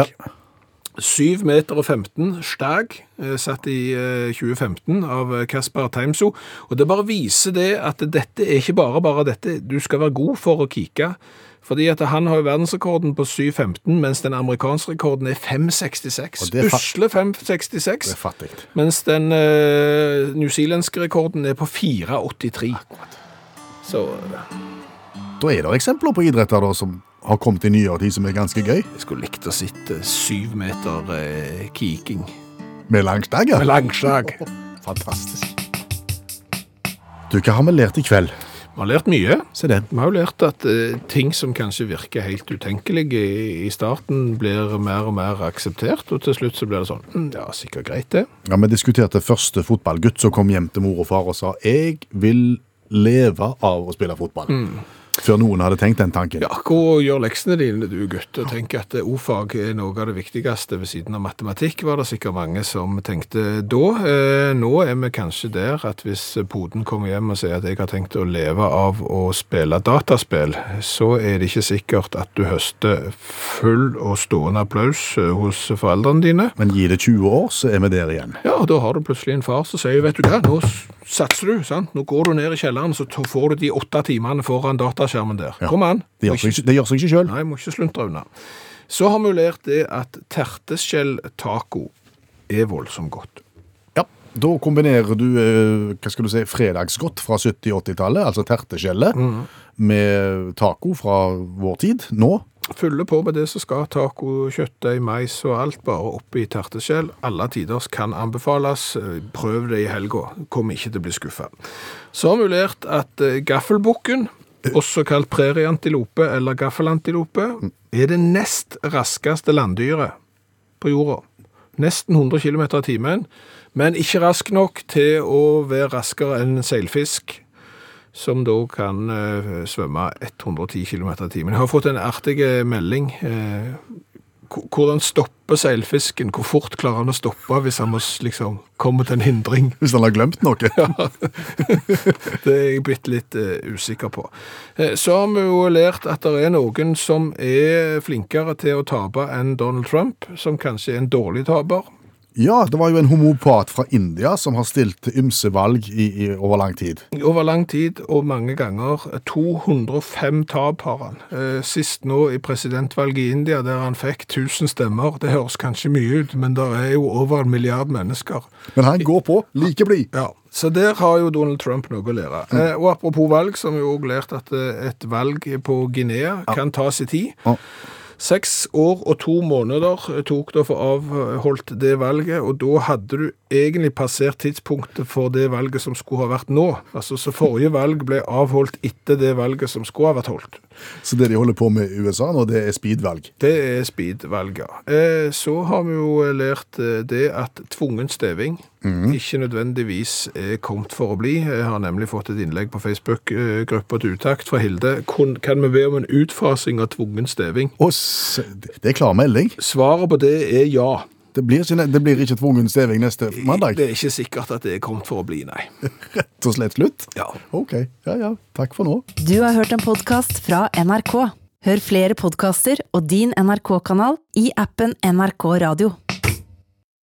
[SPEAKER 2] 7 meter og 15 stag, eh, satt i eh, 2015 av eh, Kasper Teimso. Og det bare viser det at dette er ikke bare bare dette, du skal være god for å kike. Fordi at han har jo verdensrekorden på 7,15, mens den amerikanske rekorden er 5,66.
[SPEAKER 3] Og det er fa-
[SPEAKER 2] Usle
[SPEAKER 3] Det er
[SPEAKER 2] 5,66.
[SPEAKER 3] fattig.
[SPEAKER 2] Mens den eh, newzealandske rekorden er på 4,83. Så eh,
[SPEAKER 3] Da er det eksempler på idretter da, som har kommet i nyere tid som er ganske gøy.
[SPEAKER 2] jeg skulle likt å sitte syv meter eh, kiking
[SPEAKER 3] Med langsteg, ja.
[SPEAKER 2] med langslag.
[SPEAKER 3] Fantastisk. Du, hva har vi lært i kveld?
[SPEAKER 2] Vi har lært mye.
[SPEAKER 3] Se det.
[SPEAKER 2] Vi har jo lært at eh, ting som kanskje virker helt utenkelige i, i starten, blir mer og mer akseptert, og til slutt så blir det sånn «Hm, Ja, sikkert greit, det.
[SPEAKER 3] Ja, Vi diskuterte første fotballgutt som kom hjem til mor og far og sa 'jeg vil leve av å spille fotball'. før noen hadde tenkt den tanken.
[SPEAKER 2] Mm. Ja, gå og gjør leksene dine, du gutt, og tenk at eh, ordfag er noe av det viktigste ved siden av matematikk, var det sikkert mange som tenkte da. Eh, Nå er vi kanskje der at hvis poden kommer hjem og sier at jeg har tenkt å leve av å spille dataspill, så er det ikke sikkert at du høster full og stående applaus eh, hos foreldrene dine.
[SPEAKER 3] Men gi det 20 år, så er vi der igjen.
[SPEAKER 2] Ja, og da har du plutselig en far som sier, vet du hva, nå s- satser du, sant? Nå går du ned i kjelleren, så t- får du de åtte timene foran dataskjermen der.
[SPEAKER 3] Ja.
[SPEAKER 2] Kom an.
[SPEAKER 3] Det
[SPEAKER 2] Og
[SPEAKER 3] gjør seg ikke, det gjør seg ikke sjøl.
[SPEAKER 2] Nei, jeg må ikke sluntre unna. Så har vi jo lært det at terteskjell taco er voldsomt godt.
[SPEAKER 3] Ja, da kombinerer du eh, hva skal du si, fredagsgodt fra 70-80-tallet, altså terteskjellet, med taco fra vår tid, nå.
[SPEAKER 2] Fyller på med det som skal taco, kjøttdeig, mais og alt, bare oppi terteskjell. Alle tiders kan anbefales. Eh, Prøv det i helga. Kommer ikke til å bli skuffa. Så har vi jo lært at eh, gaffelbukken, også kalt prærieantilope eller gaffelantilope, er det nest raskeste landdyret på jorda. Nesten 100 km i timen, men ikke rask nok til å være raskere enn en seilfisk, som da kan eh, svømme 110 km i timen. Jeg har fått en artig eh, melding. eh, hvor- hvordan stopper seilfisken? Hvor fort klarer han å stoppe hvis han må s- liksom, komme til en hindring?
[SPEAKER 3] Hvis han har glemt noe.
[SPEAKER 2] Det er jeg blitt litt eh, usikker på. Eh, så har vi jo lært at det er noen som er flinkere til å tape enn Donald Trump, som kanskje er en dårlig taper.
[SPEAKER 3] Ja, det var jo en homopat fra India som har stilt til ymse valg i, i, over lang tid.
[SPEAKER 2] Over lang tid og mange ganger. eh, 205 tap har han. Eh, Sist nå i presidentvalget i India, der han fikk 1000 stemmer. Det høres kanskje mye ut, men det er jo over en milliard mennesker.
[SPEAKER 3] Men han går på like blid.
[SPEAKER 2] Ja, Så der har jo Donald Trump noe å lære. Eh, Og apropos valg, som jo også lærte at eh, et valg på Guinea kan ta sin tid.
[SPEAKER 3] Ja.
[SPEAKER 2] Seks år og to måneder eh, tok det for avholdt det valget, og da hadde du egentlig passert tidspunktet for det valget som skulle ha vært nå. Altså, Så forrige valg ble avholdt etter det valget som skulle ha vært holdt.
[SPEAKER 3] Så det de holder på med i USA nå, det er speedvalg.
[SPEAKER 2] Det er speed-valg, ja. Eh, Så har vi jo lært eh, det at tvungen steving ikke nødvendigvis er kommet for å bli. Jeg har nemlig fått et innlegg på Facebook-gruppa til utakt fra Hilde. Kun- Kan vi be om en utfasing av tvungen steving?
[SPEAKER 3] Å, s- det er klar melding.
[SPEAKER 2] Svaret på det er ja.
[SPEAKER 3] Det blir ikke, det blir ikke tvungen steving neste mandag.
[SPEAKER 2] Det er ikke sikkert at det er kommet for å bli, nei.
[SPEAKER 3] Rett og slett slutt.
[SPEAKER 2] Ja.
[SPEAKER 3] OK. Ja, ja. Takk for nå.
[SPEAKER 1] Du har hørt en podkast fra NRK. Hør flere podkaster og din NRK-kanal i appen NRK Radio.